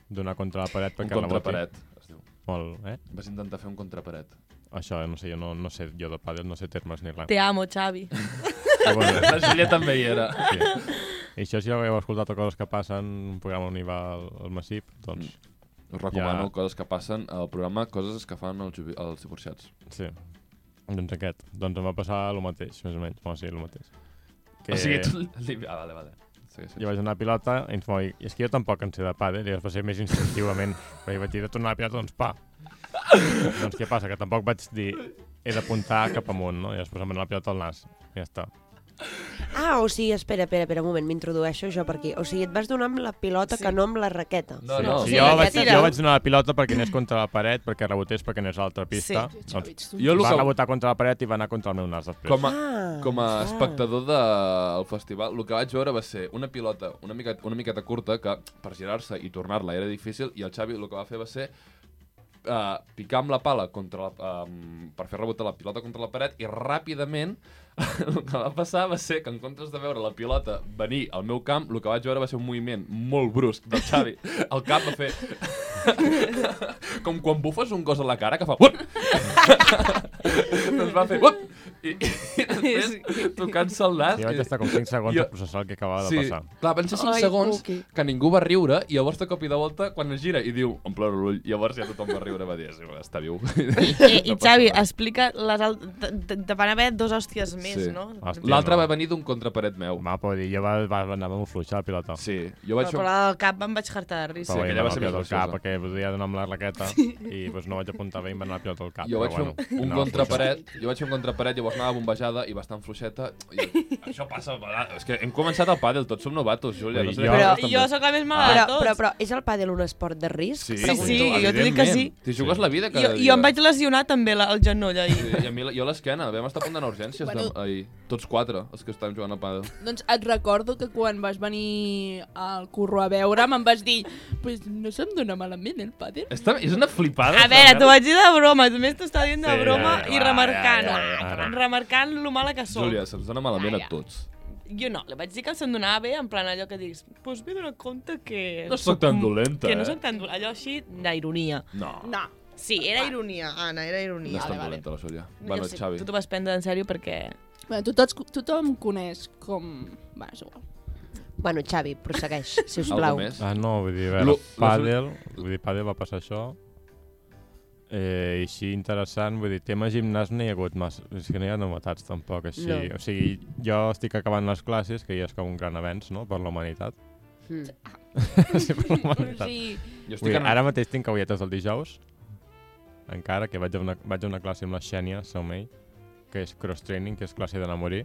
Speaker 4: donar contra la paret
Speaker 1: Un
Speaker 4: perquè reboti.
Speaker 1: contraparet. Es diu.
Speaker 4: Molt, eh?
Speaker 1: Vas intentar fer un contraparet.
Speaker 4: Això, eh, no sé, jo no, no sé, jo de pàdel no sé termes ni res.
Speaker 3: Te amo, Xavi.
Speaker 4: Però bueno,
Speaker 1: La Júlia també hi era.
Speaker 4: sí. I això si heu escoltat coses que passen, un programa on hi va el, el Massip, doncs,
Speaker 1: Mm. Us recomano
Speaker 4: Ja.
Speaker 1: coses que passen al programa, coses que fan els, jubi- els divorciats.
Speaker 4: sí. Doncs aquest. Doncs em va passar el mateix, més o menys. Bueno, sí, el mateix. Eh.
Speaker 1: Que... O sigui, tu... li- Ah, vale, vale. Sí, sí.
Speaker 4: Jo vaig donar la pilota i ens va dir, és que jo tampoc en sé de eh? pàdel, i llavors va ser més instintivament. Però jo vaig dir, de tornar la pilota, doncs pa. doncs què passa, que tampoc vaig dir, he d'apuntar cap amunt, no? I després em va anar la pilota al nas. I ja està.
Speaker 2: Ah, o sigui, espera, espera, espera, un moment, m'introdueixo jo per aquí. O sigui, et vas donar amb la pilota sí. que no amb la raqueta.
Speaker 1: No, no.
Speaker 4: Sí,
Speaker 1: Sí,
Speaker 4: jo,
Speaker 3: la
Speaker 4: vaig,
Speaker 3: pilota-
Speaker 4: jo vaig donar la pilota perquè anés contra la paret, perquè rebotés, perquè anés a l'altra pista.
Speaker 3: Sí.
Speaker 4: Doncs
Speaker 1: Jo el
Speaker 4: va
Speaker 1: que,
Speaker 4: rebotar contra la paret i va anar contra el meu nas després.
Speaker 1: com a,
Speaker 2: Ah,
Speaker 1: com a
Speaker 2: clar.
Speaker 1: espectador del festival, el que vaig veure va ser una pilota una miqueta, una miqueta curta que per girar-se i tornar-la era difícil i el Xavi el que va fer va ser uh, picar amb la pala contra la, um, per fer rebotar la pilota contra la paret i ràpidament el que va passar va ser que en comptes de veure la pilota venir al meu camp, el que vaig veure va ser un moviment molt brusc del Xavi. El cap va fer... Com quan bufes un gos a la cara que fa... Uop! doncs va fer... Uop! I, i després tocant-se el nas...
Speaker 4: Jo vaig estar com 5 segons
Speaker 1: Jo-
Speaker 4: jo... a processar el que acabava
Speaker 1: Sí,
Speaker 4: de passar.
Speaker 1: clar, van ser 5
Speaker 3: Ai,
Speaker 1: segons
Speaker 3: Cookie.
Speaker 1: que ningú va riure i llavors de cop i de volta, quan es gira i diu, em ploro l'ull, llavors ja tothom va riure, va dir, sí, va, està viu.
Speaker 3: I, Eh, i, i
Speaker 1: No passa
Speaker 3: Xavi,
Speaker 1: res.
Speaker 3: explica les... Al... Te, te, te van haver dos hòsties més,
Speaker 1: Sí. Ah,
Speaker 3: no?
Speaker 4: Hòstia.
Speaker 1: L'altre
Speaker 4: no.
Speaker 1: va venir d'un contraparet meu.
Speaker 4: Va, però dir, jo va, va, anava molt fluixa la pilota. Sí,
Speaker 1: Sí, jo
Speaker 3: Ah, Però,
Speaker 1: vaig...
Speaker 3: però la del cap em vaig jartar de
Speaker 4: però
Speaker 1: sí,
Speaker 3: risa.
Speaker 4: sí,
Speaker 1: aquella
Speaker 4: aquella
Speaker 1: va
Speaker 4: va
Speaker 1: ser
Speaker 4: ser
Speaker 1: més
Speaker 4: més
Speaker 1: graciosa.
Speaker 4: cap, perquè volia donar amb la raqueta sí. i doncs, no vaig apuntar bé i em va anar la pilota al cap.
Speaker 1: Jo vaig,
Speaker 4: però,
Speaker 1: fer
Speaker 4: bueno,
Speaker 1: un, un
Speaker 4: anava
Speaker 1: contraparet, jo vaig fer un contraparet, llavors anava bombejada i bastant fluixeta. I això passa, a vegades. és que hem començat el pàdel, tots som novatos, Júlia. No
Speaker 4: Ui,
Speaker 1: sé
Speaker 4: jo-
Speaker 1: però,
Speaker 4: Però-
Speaker 3: I jo sóc la més mala
Speaker 2: Però,
Speaker 3: de tots.
Speaker 2: però, però és el pàdel un esport de risc?
Speaker 1: sí,
Speaker 3: Sí,
Speaker 1: sí,
Speaker 3: sí,
Speaker 1: tu,
Speaker 3: jo t'ho dic que sí.
Speaker 1: evidentment. T'hi jugues la vida cada
Speaker 3: Jo,
Speaker 1: dia.
Speaker 3: jo em vaig lesionar també la, el genoll ahir.
Speaker 1: Sí, I a mi, la- jo a l'esquena, vam estar a punt d'anar a urgències bueno.
Speaker 6: Bueno.
Speaker 1: ahir. Tots quatre, els que estàvem jugant a pàdel.
Speaker 6: Doncs et recordo que quan vas venir al curro a veure em vas dir pues no se'm dona malament el pàdel.
Speaker 1: Està, és una flipada.
Speaker 3: A veure, t'ho vaig dir de broma, només t'ho estava dient de
Speaker 4: Sí,
Speaker 3: broma
Speaker 4: ja, ja,
Speaker 3: i
Speaker 4: ja,
Speaker 3: remarcant,
Speaker 4: ja, ja, ja.
Speaker 3: remarcant lo mala que sóc.
Speaker 1: Júlia, se'ns dona malament
Speaker 3: Ja, ja.
Speaker 1: a tots.
Speaker 3: Jo no, li vaig dir que se'm donava bé, en plan allò que dius, doncs pues m'he donat compte que...
Speaker 1: No sóc tan dolenta,
Speaker 3: Que
Speaker 1: eh?"
Speaker 3: no soc tan dolenta, allò així d'ironia.
Speaker 1: No, no,
Speaker 6: No.
Speaker 3: Sí, era ironia, Anna, era
Speaker 1: no
Speaker 3: ironia.
Speaker 1: és tan
Speaker 6: vale.
Speaker 1: dolenta la Júlia.
Speaker 3: Jo
Speaker 1: Bueno,
Speaker 3: sé,
Speaker 1: Xavi.
Speaker 3: Tu t'ho vas prendre en sèrio perquè...
Speaker 6: Bé, tu tots, tothom coneix com... Va, és igual.
Speaker 2: Bueno, Xavi, prossegueix, si us
Speaker 1: Algú
Speaker 2: plau.
Speaker 1: més?
Speaker 4: Ah, no, vull dir, a
Speaker 1: Lo-
Speaker 4: veure,
Speaker 1: lo-
Speaker 4: pàdel, vull dir, pàdel va passar això. Eh, i així interessant, vull dir, tema gimnàs no hi ha hagut massa, és que no hi ha novetats tampoc, així.
Speaker 2: No.
Speaker 4: O sigui, jo estic acabant les classes, que ja és com un gran avenç, no?, per la humanitat.
Speaker 2: Mm.
Speaker 4: sí, per la humanitat.
Speaker 6: Sí,
Speaker 1: Jo
Speaker 4: Vull
Speaker 1: estic
Speaker 4: dir,
Speaker 1: en...
Speaker 4: ara mateix tinc caulletes el dijous, encara que vaig a una, vaig a una classe amb la Xènia Saumell, que és cross-training, que és classe d'anar a morir.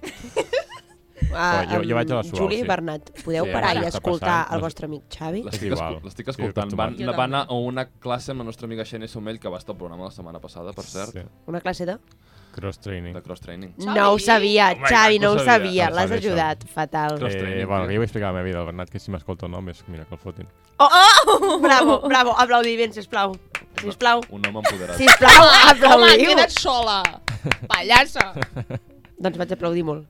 Speaker 2: Ah,
Speaker 4: jo- jo vaig a la
Speaker 2: em,
Speaker 4: suau,
Speaker 2: Júlia i
Speaker 4: sí.
Speaker 2: Bernat, podeu
Speaker 4: Sí,
Speaker 2: parar
Speaker 4: ara
Speaker 2: i
Speaker 4: està
Speaker 2: escoltar
Speaker 4: passant,
Speaker 2: el
Speaker 4: no-
Speaker 2: vostre amic Xavi?
Speaker 1: L'estic
Speaker 4: És
Speaker 1: escol-
Speaker 4: igual.
Speaker 1: l'estic
Speaker 4: Estic
Speaker 1: escoltant. Van,
Speaker 4: acostumat.
Speaker 3: Jo
Speaker 1: va
Speaker 3: també.
Speaker 1: anar a una classe amb la nostra amiga Xenia Somell, que va estar al programa la setmana passada, per cert,
Speaker 4: Sí,
Speaker 2: Una classe de...
Speaker 4: cross-training.
Speaker 1: de cross-training.
Speaker 6: Xavi!
Speaker 2: No ho sabia,
Speaker 1: Oh my
Speaker 2: Xavi,
Speaker 1: God,
Speaker 2: no ho
Speaker 1: no ho
Speaker 2: sabia.
Speaker 4: sabia. No
Speaker 2: L'has
Speaker 4: sabia això.
Speaker 2: ajudat, fatal.
Speaker 1: Cross-
Speaker 4: Eh,
Speaker 1: cross-training,
Speaker 4: bueno,
Speaker 1: tio.
Speaker 4: jo vull explicar la meva vida, el Bernat, que si m'escolta o no, més mira que el fotin.
Speaker 2: Oh, oh! Bravo, bravo, aplaudiment, sisplau. Sisplau,
Speaker 1: Un home empoderat.
Speaker 2: sisplau,
Speaker 6: Home,
Speaker 2: aplaudiu.
Speaker 6: queda't sola! Pallassa!
Speaker 2: Doncs vaig aplaudir molt.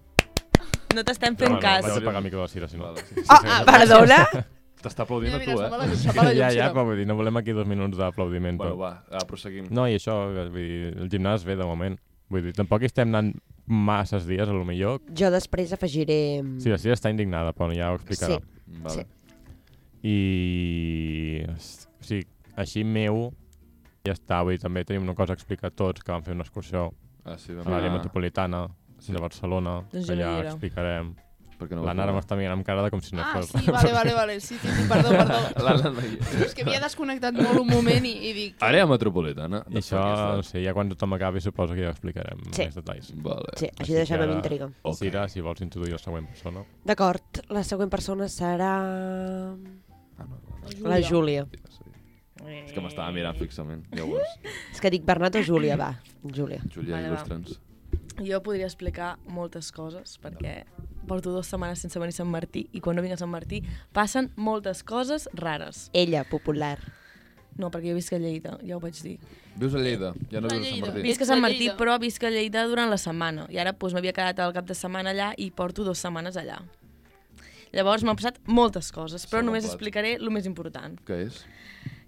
Speaker 3: No t'estem
Speaker 4: No,
Speaker 3: fent
Speaker 4: no,
Speaker 3: cas.
Speaker 4: Vaig apagar el micro de la Cira, si no.
Speaker 1: Vale, sí.
Speaker 2: Oh, ah, perdona?
Speaker 1: T'està aplaudint a tu,
Speaker 6: se'n va la
Speaker 1: eh?
Speaker 6: llum, se'n va la llum,
Speaker 4: ja,
Speaker 6: si
Speaker 4: ja,
Speaker 6: no.
Speaker 4: però vull dir, no volem aquí dos minuts d'aplaudiment.
Speaker 1: Bueno,
Speaker 4: Bueno,
Speaker 1: va, ah, prosseguim.
Speaker 4: no, i això, vull dir, el gimnàs ve de moment. Vull dir, tampoc hi estem anant masses dies, a lo millor.
Speaker 2: Jo després afegiré... mm,
Speaker 4: Sí, la Cira està indignada, però ja ho explicarà.
Speaker 2: Sí.
Speaker 1: Vale.
Speaker 2: Sí.
Speaker 4: I... es- O sigui, així meu, ja està. Vull dir, també tenim una cosa a explicar a tots, que vam fer una excursió
Speaker 1: Ah, sí,
Speaker 4: a
Speaker 1: vam
Speaker 4: l'àrea
Speaker 1: anar...
Speaker 4: metropolitana
Speaker 1: Sí.
Speaker 4: de Barcelona,
Speaker 3: Doncs jo no
Speaker 4: que
Speaker 3: hi
Speaker 4: ja
Speaker 3: era.
Speaker 4: explicarem.
Speaker 1: Perquè no
Speaker 4: La Nara m'està mirant amb cara de com si no
Speaker 6: Ah,
Speaker 4: fos...
Speaker 6: sí, vale, vale, vale. Sí, sí, sí, perdó, perdó.
Speaker 1: La, la, la...
Speaker 6: És que havia desconnectat molt un moment i, i dic...
Speaker 1: Àrea metropolitana.
Speaker 4: I això, no sé, ja quan tothom acabi suposo que ja explicarem
Speaker 2: Sí.
Speaker 4: més detalls.
Speaker 1: Vale.
Speaker 2: Sí,
Speaker 4: Així
Speaker 2: així deixem
Speaker 4: que
Speaker 2: amb
Speaker 4: ara-
Speaker 2: intriga.
Speaker 1: Ok.
Speaker 4: Okay. Cira, si vols introduir la següent persona.
Speaker 2: D'acord, la següent persona serà...
Speaker 1: Ah, no, no, no.
Speaker 2: La Júlia.
Speaker 1: Ja sé. És que m'estava mirant fixament, llavors.
Speaker 2: És que dic Bernat o Júlia, va. Júlia.
Speaker 1: Júlia,
Speaker 3: Vale, va.
Speaker 1: il·lustra'ns.
Speaker 3: Jo podria explicar moltes coses perquè porto dues setmanes sense venir a Sant Martí i quan no vinc a Sant Martí passen moltes coses rares.
Speaker 2: Ella, popular.
Speaker 3: No, perquè jo visc a Lleida, ja ho vaig dir.
Speaker 1: Vius a Lleida, ja no vius a
Speaker 6: A
Speaker 1: Sant
Speaker 6: Lleida.
Speaker 1: Martí.
Speaker 6: Vis-
Speaker 3: Visc a Sant
Speaker 6: a
Speaker 3: Martí,
Speaker 6: Lleida.
Speaker 3: però visc a Lleida durant la setmana i ara doncs, m'havia quedat al cap de setmana allà i porto dues setmanes allà. Llavors m'han passat moltes coses, però
Speaker 1: Segon
Speaker 3: només
Speaker 1: plat.
Speaker 3: explicaré el més important,
Speaker 1: Què és?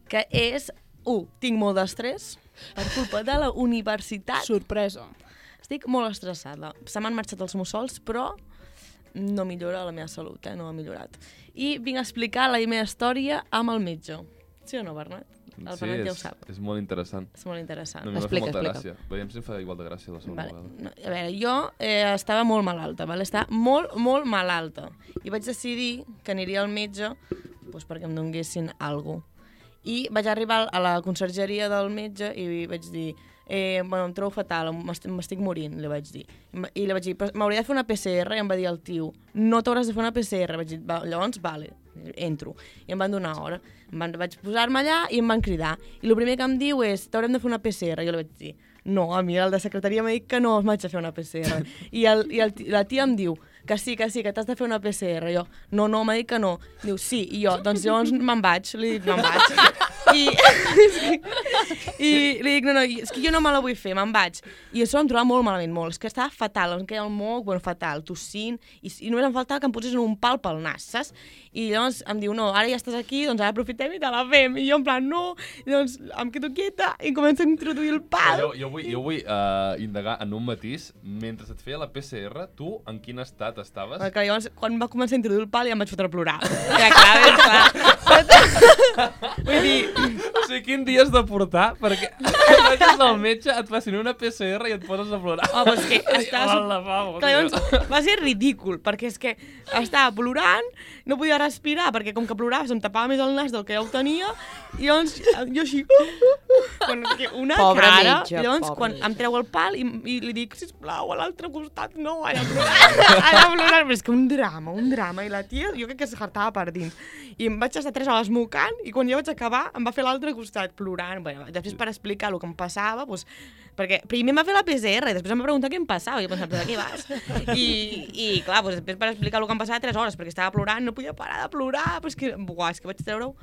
Speaker 3: que és, u, tinc molt d'estrès per culpa de la universitat.
Speaker 6: Sorpresa.
Speaker 3: Estic molt estressada. Se m'han marxat els mussols, però no millora la meva salut, eh? no ha millorat. I vinc a explicar la meva història amb el metge. Sí o no, Bernat? El Bernat ja ho
Speaker 1: és,
Speaker 3: sap.
Speaker 1: és molt interessant.
Speaker 3: És molt interessant.
Speaker 1: No, a mi m'ha fet
Speaker 2: Explica,
Speaker 1: molta
Speaker 2: explica.
Speaker 1: gràcia. Veiem si em fa igual de gràcia la segona
Speaker 3: Vale.
Speaker 1: vegada.
Speaker 3: No, a veure, jo eh, estava molt malalta, vale? estava molt, molt malalta. I vaig decidir que aniria al metge doncs, perquè em donguessin alguna cosa. I vaig arribar a la consergeria del metge i vaig dir eh, bueno, em trobo fatal, m'est- m'estic morint, li vaig dir. I m- I li vaig dir, "Però m'hauria de fer una PCR? I em va dir el tio, no t'hauràs de fer una PCR. Vaig dir, "Va, llavors, vale, entro. I em van donar hora. Em van, vaig posar-me allà i em van cridar. I el primer que em diu és, t'haurem de fer una PCR. Jo li vaig dir, no, a mi el de secretaria m'ha dit que no m'haig de fer una PCR. I, el, i el, ti- la tia em diu, que sí, que sí, que t'has de fer una PCR. Jo, no, no, m'ha dit que no. Diu, sí, i jo, doncs llavors me'n vaig. Li dic, me'n vaig. I, és que- I li dic, no, no, i- és que jo no me la vull fer, me'n vaig. I això em trobava molt malament, molt. És que estava fatal, em queia el moc, bueno, fatal, tossint, i, i només em faltava que em posessin un pal pel nas, saps? I llavors em diu, no, ara ja estàs aquí, doncs ara aprofitem i te la fem. I jo en plan, no, I llavors em quedo quieta i començo a introduir el pal.
Speaker 1: Jo, jo vull, jo vull uh, indagar en un matís. Mentre et feia la PCR, tu en quin estat estaves?
Speaker 3: Perquè llavors, quan va començar a introduir el pal, ja em vaig fotre a plorar. Ja, clar, ben clar. Vull dir,
Speaker 1: O sigui, quin dia has de portar perquè vagis al metge, et facin una PCR i et poses a plorar.
Speaker 3: home, Oh, és que estàs...
Speaker 1: lavabo,
Speaker 3: Clar, llavors, va ser ridícul, perquè és que estava plorant, no podia respirar, perquè com que plorava se'm tapava més el nas del que ja ho tenia, i llavors jo així... Bueno, que una
Speaker 2: Pobre
Speaker 3: cara...
Speaker 2: metge,
Speaker 3: i llavors,
Speaker 2: pobre
Speaker 3: quan
Speaker 2: metge.
Speaker 3: em treu el pal i, i li dic, sisplau, a l'altre costat no, allà plorant, allà plorant. Però és que un drama, un drama. I la tia, jo crec que s'hartava per dins. I em vaig estar tres hores mocant i quan jo vaig acabar em va fer a l'altre costat plorant. Bueno, després per explicar el que em passava, doncs, perquè primer em va fer la PCR i després em va preguntar què em passava. I jo pensava, però de què vas? I, i clar, doncs, després per explicar el que em passava tres hores, perquè estava plorant, no podia parar de plorar, però és que, buah, és que vaig treure-ho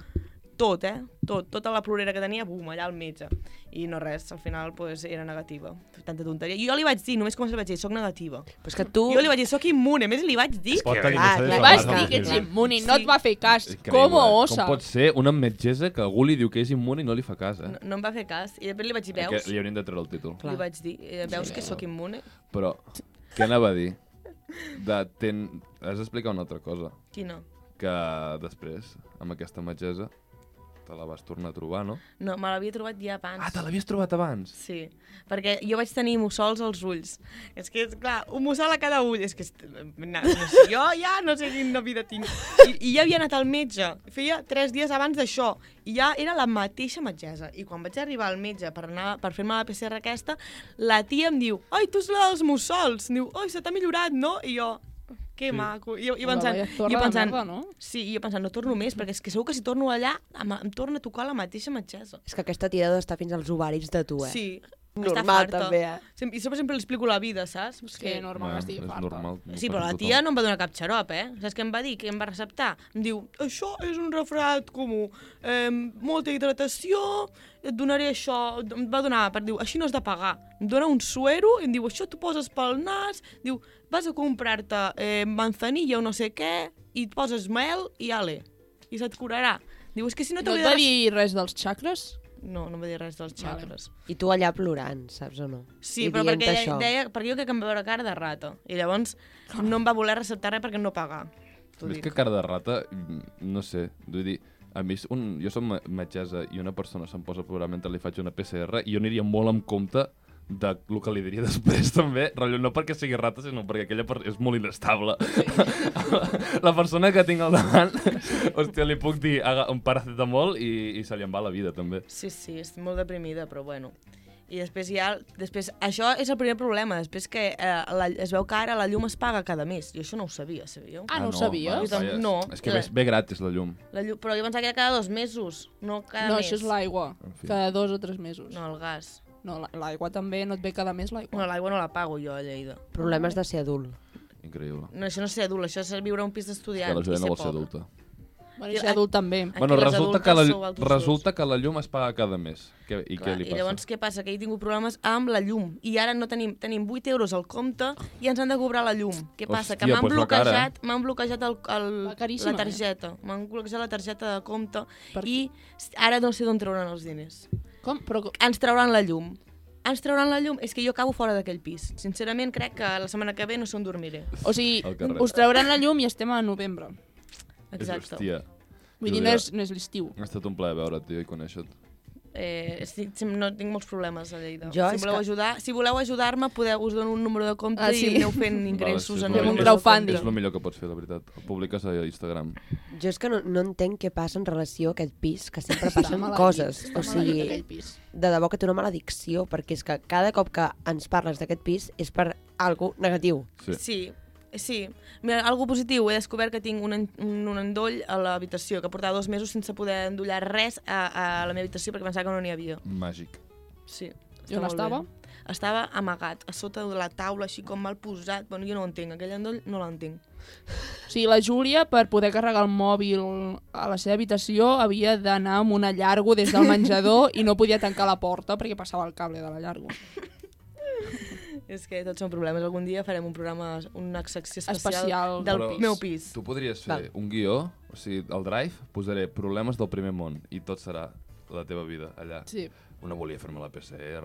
Speaker 3: tot, eh? Tot, tota la plorera que tenia, bum, allà al metge. I no res, al final pues, era negativa. Tanta tonteria. I jo li vaig dir, només com se vaig dir, soc negativa.
Speaker 2: Però és que tu...
Speaker 1: Uh.
Speaker 3: Jo li vavaig dir, soc immune, a més li vaig dir...
Speaker 4: Pot
Speaker 3: que-
Speaker 4: tenir
Speaker 3: Ah,
Speaker 4: massa de
Speaker 2: clar,
Speaker 6: Vas
Speaker 4: clar.
Speaker 6: dir que ets
Speaker 4: Sí.
Speaker 6: immune i no et va fer cas.
Speaker 1: Increïble,
Speaker 6: Com
Speaker 1: eh?
Speaker 6: osa?
Speaker 1: Com pot ser una metgessa que algú li diu que és immune i no li fa cas, eh?
Speaker 3: No, no em va fer cas. I després li vaig dir,
Speaker 1: Que
Speaker 3: veus?
Speaker 1: li haurien de treure el títol.
Speaker 3: Li vaig dir, eh, veus que sóc immune?
Speaker 1: Però, què anava a dir? De ten... Has d'explicar una altra cosa.
Speaker 3: Quina?
Speaker 1: Que després, amb aquesta metgessa, te la vas tornar a trobar, no?
Speaker 3: No, me l'havia trobat ja abans.
Speaker 1: Ah, te l'havies trobat abans?
Speaker 3: Sí, perquè jo vaig tenir mussols als ulls. És que, és clar, un mussol a cada ull. És que, est- na, no sé, jo ja no sé quina vida tinc. I, I ja havia anat al metge. Feia tres dies abans d'això. I ja era la mateixa metgessa. I quan vaig arribar al metge per, anar- per fer-me la PCR aquesta, la tia em diu, ai, tu ets la dels mussols. Em diu, ai, se t'ha millorat, no? I jo, que sí. maco. I, jo- i
Speaker 6: Home,
Speaker 3: pensant,
Speaker 6: vaya zorra
Speaker 3: i
Speaker 6: de
Speaker 3: pensant,
Speaker 6: merda, no?
Speaker 3: sí, i jo pensant, no torno més, perquè és que segur que si torno allà em, em torna a tocar la mateixa metgessa.
Speaker 2: És que aquesta tirada està fins als ovaris de tu, eh?
Speaker 3: Sí.
Speaker 2: Normal,
Speaker 3: Està farta.
Speaker 2: també, eh?
Speaker 3: Sempre, I sempre, sempre li explico la vida, saps? És
Speaker 6: Que normal
Speaker 1: Bé,
Speaker 6: que estigui
Speaker 1: és
Speaker 6: farta.
Speaker 1: normal. no
Speaker 3: Sí,
Speaker 1: ho
Speaker 3: però
Speaker 1: passa
Speaker 3: la
Speaker 1: tothom.
Speaker 3: tia no em va donar cap xarop, eh? Saps què em va dir? Què em va receptar? Em diu, això és un refredat comú, eh, molta hidratació, et donaré això... Em va donar, per diu, així no has de pagar. Em dona un suero i em diu, això t'ho poses pel nas, diu, vas a comprar-te eh, manzanilla o no sé què, i et poses mel i ale, i se't curarà. Diu, és que si no
Speaker 6: No et
Speaker 3: t'hauria
Speaker 6: va
Speaker 3: de...
Speaker 6: dir res dels xacres?
Speaker 3: No, no em va dir res dels
Speaker 6: Vale.
Speaker 3: xacres.
Speaker 2: I tu allà plorant, saps o no?
Speaker 3: Sí,
Speaker 2: I
Speaker 3: però
Speaker 2: dient-te
Speaker 3: perquè ella
Speaker 2: això.
Speaker 3: deia, perquè jo crec que em va veure cara de rata. I llavors no em va voler receptar res perquè no pagar. T'ho
Speaker 1: Més
Speaker 3: dic.
Speaker 1: que cara de rata, mm, no sé, vull dir, a mi, és un, jo som metgessa i una persona se'm posa a plorar mentre li faig una PCR, i jo aniria molt amb compte de lo que li diria després, també. Rotllo, no perquè sigui rata, sinó perquè aquella per és molt inestable. la persona que tinc al davant, hòstia, li puc dir "Aga- un paracetamol i, i se li en va la vida, també.
Speaker 3: Sí, sí, és molt deprimida, però bueno. I després hi ha... Després, això és el primer problema. Després que eh, la, es veu que ara la llum es paga cada mes. I això no ho sabia, sabíeu?
Speaker 6: Ah, no ho sabies?
Speaker 1: va, vaja.
Speaker 3: No.
Speaker 1: És que ve, ve gratis, la llum.
Speaker 3: La llum, però jo pensava que era cada dos mesos, no cada
Speaker 6: no,
Speaker 3: mes.
Speaker 6: això és l'aigua.
Speaker 1: En fi.
Speaker 6: Cada dos o tres mesos.
Speaker 3: No, el gas.
Speaker 6: No, la- l'aigua també no et ve cada mes
Speaker 3: No,
Speaker 6: l'aigua.
Speaker 3: l'aigua no la pago jo a Lleida.
Speaker 2: Problemes de ser adult.
Speaker 1: Increïble.
Speaker 3: No, això no és ser adult, això és viure a un pis
Speaker 1: Que
Speaker 3: d'estudiant
Speaker 1: la
Speaker 3: i
Speaker 1: Joana
Speaker 3: ser
Speaker 1: vol ser
Speaker 3: pobre.
Speaker 1: adulta.
Speaker 6: Bueno, i ser adult també.
Speaker 3: Aquí
Speaker 1: Bueno,
Speaker 3: les
Speaker 1: resulta que,
Speaker 3: adultes
Speaker 1: la,
Speaker 3: sou altos
Speaker 1: resulta que la llum es paga cada mes. Que, I
Speaker 3: Clar,
Speaker 1: què li
Speaker 3: I
Speaker 1: passa?
Speaker 3: llavors què passa? Que he tingut problemes amb la llum i ara no tenim, tenim 8 euros al compte i ens han de cobrar la llum. Què passa? que
Speaker 1: Hòstia,
Speaker 3: m'han
Speaker 1: pues la cara,
Speaker 3: bloquejat, m'han bloquejat el, el,
Speaker 6: Va caríssima,
Speaker 3: la targeta. M'han bloquejat la targeta de compte
Speaker 6: Per-
Speaker 3: i s- ara no sé d'on trauran els diners.
Speaker 6: Com? Però com?
Speaker 3: Ens trauran la llum. Ens trauran la llum. És que jo acabo fora d'aquell pis. Sincerament crec que la setmana que ve no sé on dormiré.
Speaker 6: O sigui,
Speaker 1: Al carrer.
Speaker 6: us trauran la llum i estem a novembre.
Speaker 3: Exacte.
Speaker 1: Hòstia,
Speaker 6: Vull dir, no és, no és l'estiu.
Speaker 1: ha estat un plaer veure't, tio, i conèixer-te.
Speaker 3: Eh, estic, sem- no tinc molts problemes a Lleida.
Speaker 2: Jo
Speaker 3: si
Speaker 2: és
Speaker 3: voleu
Speaker 2: que-
Speaker 3: ajudar, si voleu ajudar-me, podeu us dono un número de compte
Speaker 6: Ah, sí.
Speaker 3: i aneu fent ingressos
Speaker 1: sí,
Speaker 3: en
Speaker 1: és
Speaker 3: el
Speaker 1: molt
Speaker 3: número de
Speaker 6: important.
Speaker 3: compte.
Speaker 1: És el millor que pots fer, la veritat. El publiques a Instagram.
Speaker 2: Jo és que no, no entenc què passa en relació a aquest pis, que sempre passen
Speaker 6: maleït,
Speaker 2: coses.
Speaker 6: està
Speaker 2: O
Speaker 6: maleït
Speaker 2: sigui,
Speaker 6: aquell pis.
Speaker 2: de debò que té una maledicció, perquè és que cada cop que ens parles d'aquest pis és per algo negatiu.
Speaker 1: Sí.
Speaker 3: Sí, sí. Mira, algo positiu, he descobert que tinc un, en- un, un endoll a l'habitació, que portava dos mesos sense poder endollar res a, a la meva habitació perquè pensava que no n'hi havia.
Speaker 1: Màgic.
Speaker 3: Sí.
Speaker 6: I on
Speaker 3: està molt
Speaker 6: estava?
Speaker 3: bé. Estava amagat, a sota de la taula, així com mal posat. Bueno, jo no ho entenc, aquell endoll no l'entenc.
Speaker 6: O sigui, la Júlia, per poder carregar el mòbil a la seva habitació, havia d'anar amb una llargo des del menjador i no podia tancar la porta perquè passava el cable de la llargo.
Speaker 3: És que tots són problemes. Algun dia farem un programa, una secció especial
Speaker 6: Especial.
Speaker 3: del
Speaker 1: Però
Speaker 3: pis. meu pis.
Speaker 1: Tu podries fer Val. un guió, o sigui, al Drive posaré problemes del primer món i tot serà la teva vida allà.
Speaker 6: Sí.
Speaker 1: Una volia fer-me la PCR,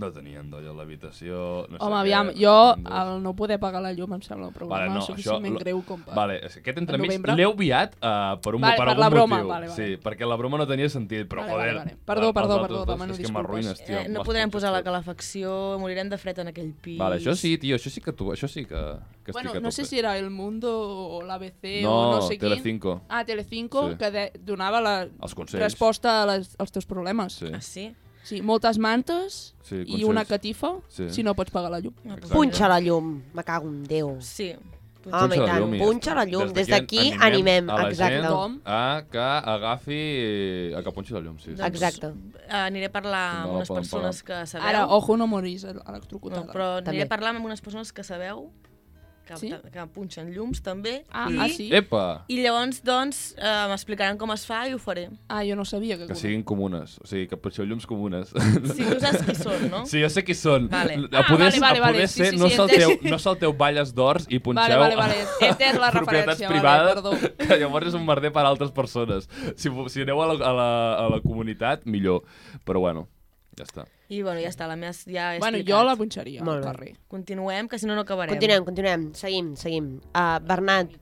Speaker 1: no tenia endoll a l'habitació... No sé
Speaker 6: Home,
Speaker 1: què,
Speaker 6: aviam, jo
Speaker 1: un dos.
Speaker 6: el no poder pagar la llum em sembla un problema
Speaker 1: Vale, no,
Speaker 6: suficientment
Speaker 1: això-
Speaker 6: greu com per...
Speaker 1: Vale, és que aquest entremig
Speaker 6: novembre.
Speaker 1: l'he obviat uh, per, un,
Speaker 6: Vale,
Speaker 1: per,
Speaker 6: per
Speaker 1: algun
Speaker 6: la broma,
Speaker 1: motiu.
Speaker 6: vale, vale.
Speaker 1: Sí, perquè la broma no tenia sentit, però
Speaker 6: Vale,
Speaker 1: joder...
Speaker 6: vale, vale. Perdó,
Speaker 1: per- per
Speaker 6: perdó,
Speaker 1: nosaltres
Speaker 6: perdó,
Speaker 1: dos,
Speaker 6: demano
Speaker 1: És que
Speaker 6: disculpes.
Speaker 1: m'arruïnes, tio.
Speaker 3: Eh, no
Speaker 1: m'has
Speaker 3: podrem posar la
Speaker 1: conquistat.
Speaker 3: calefacció, morirem de fred en aquell pis.
Speaker 1: Vale, això sí, tio, això sí que tu, això sí que, que
Speaker 6: bueno,
Speaker 1: estic a
Speaker 6: no sé
Speaker 1: tope.
Speaker 6: si era El Mundo o l'ABC
Speaker 1: no,
Speaker 6: o no sé quin.
Speaker 1: Telecinco.
Speaker 6: Ah, Telecinco,
Speaker 1: Sí.
Speaker 6: sí. que de donava la
Speaker 1: Els consells.
Speaker 6: resposta a les, als teus problemes.
Speaker 1: Sí.
Speaker 3: Ah, sí?
Speaker 6: sí moltes mantes
Speaker 1: Sí,
Speaker 6: i
Speaker 1: consells.
Speaker 6: una catifa,
Speaker 1: Sí.
Speaker 6: sí. si no pots pagar la llum.
Speaker 1: Exacte.
Speaker 2: Punxa la llum, me cago en Déu.
Speaker 3: Sí.
Speaker 2: Home, i
Speaker 1: la
Speaker 2: tant,
Speaker 1: llum i ja
Speaker 2: punxa
Speaker 1: està.
Speaker 2: la llum. Des
Speaker 1: d'aquí
Speaker 2: d'aquí animem,
Speaker 1: a la
Speaker 2: exacte.
Speaker 1: Gent a que agafi... a que punxi la llum, sí. sí.
Speaker 3: Doncs,
Speaker 2: Exacte.
Speaker 3: eh, Aniré a parlar
Speaker 1: No
Speaker 3: amb
Speaker 1: la
Speaker 3: unes
Speaker 1: poden
Speaker 3: persones que sabeu.
Speaker 6: Ara, ojo, no morís
Speaker 3: no,
Speaker 6: electrocutada.
Speaker 3: però
Speaker 2: També.
Speaker 3: aniré a parlar amb unes persones que sabeu que,
Speaker 6: Sí?
Speaker 3: ta- que punxen llums, també.
Speaker 6: Ah,
Speaker 3: i,
Speaker 6: ah, sí?
Speaker 1: Epa!
Speaker 3: I llavors, doncs, eh, m'explicaran com es fa i ho faré.
Speaker 6: Ah, jo no sabia que...
Speaker 1: Que siguin comunes, o sigui, que punxeu llums comunes.
Speaker 3: Si tu saps qui són, no?
Speaker 1: Sí, jo sé qui són.
Speaker 3: Vale.
Speaker 1: A poder, a poder
Speaker 6: Ah, vale, vale, vale. Sí,
Speaker 1: ser,
Speaker 6: sí,
Speaker 1: no,
Speaker 6: sí,
Speaker 1: salteu,
Speaker 6: entès.
Speaker 1: no salteu balles d'ors i
Speaker 6: Vale,
Speaker 1: punxeu
Speaker 6: vale, vale. Eter la
Speaker 1: propietats
Speaker 6: referència,
Speaker 1: privades,
Speaker 6: vale, perdó.
Speaker 1: que llavors és un merder per a altres persones. Si, vo- si aneu a la, a, la, a la comunitat, millor. Però bueno, ja està.
Speaker 3: I, bueno, ja està, la meva ja he
Speaker 6: Bueno, jo
Speaker 3: explicat.
Speaker 6: la punxaria
Speaker 2: Molt
Speaker 6: al
Speaker 2: bé.
Speaker 6: carrer.
Speaker 3: Continuem, que si no, no acabarem.
Speaker 2: Continuem, continuem. Seguim, seguim. Uh, Bernat,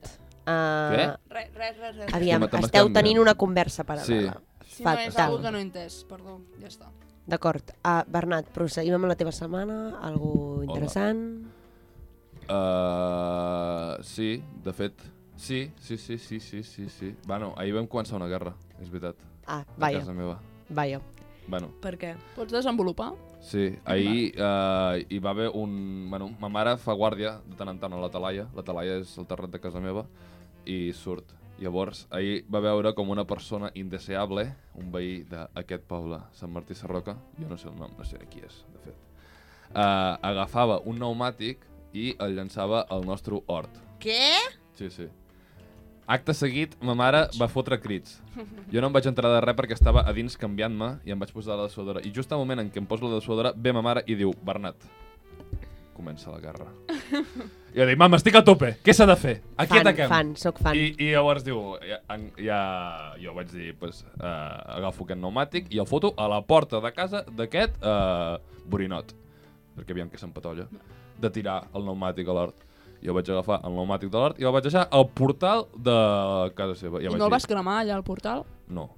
Speaker 1: Què?
Speaker 2: uh,
Speaker 6: Res, res, res, res.
Speaker 2: aviam,
Speaker 1: Sí, m'ha- m'ha
Speaker 2: esteu
Speaker 1: canviat.
Speaker 2: tenint una conversa paral·lela.
Speaker 6: Si no és
Speaker 2: Fatal.
Speaker 6: algo que no he entès, perdó, ja està.
Speaker 2: D'acord. Uh, Bernat, proseguim amb la teva setmana. Algú interessant?
Speaker 1: Uh, sí, de fet, sí, sí, sí, sí, sí, sí, sí. Bueno, ahir vam començar una guerra, és veritat, a
Speaker 2: Ah, vaja,
Speaker 1: casa meva.
Speaker 2: vaja.
Speaker 1: Bueno,
Speaker 3: Per què?
Speaker 6: Pots desenvolupar?
Speaker 1: sí, ahir uh, hi va haver un... Bueno, ma mare fa guàrdia de tant en tant a la talaia, la talaia és el terrat de casa meva, i surt. Llavors, ahir va veure com una persona indeseable, un veí d'aquest poble, Sant Martí Sarroca, jo no sé el nom, no sé qui és, de fet, uh, agafava un pneumàtic i el llançava al nostre hort.
Speaker 3: Què?
Speaker 1: Sí, sí. Acte seguit, ma mare va fotre crits. Jo no em vaig entrar de res perquè estava a dins canviant-me i em vaig posar la dessuadora. I just al moment en què em poso la dessuadora, ve ma mare i diu, Bernat, comença la guerra. I jo dic, mama, estic a tope, què s'ha de fer? Aquí
Speaker 2: Fan,
Speaker 1: ataquem.
Speaker 2: fan, sóc fan.
Speaker 1: I, I llavors diu, ja, en- ja, jo vaig dir, pues, uh, agafo aquest pneumàtic i el foto a la porta de casa d'aquest uh, borinot, perquè aviam que s'empatolla, de tirar el pneumàtic a l'hort. Jo vaig agafar el pneumàtic de l'hort i el vaig deixar al portal de casa seva. Ja
Speaker 6: I
Speaker 1: vaig
Speaker 6: no el
Speaker 1: dir,
Speaker 6: vas cremar allà al portal?
Speaker 1: No,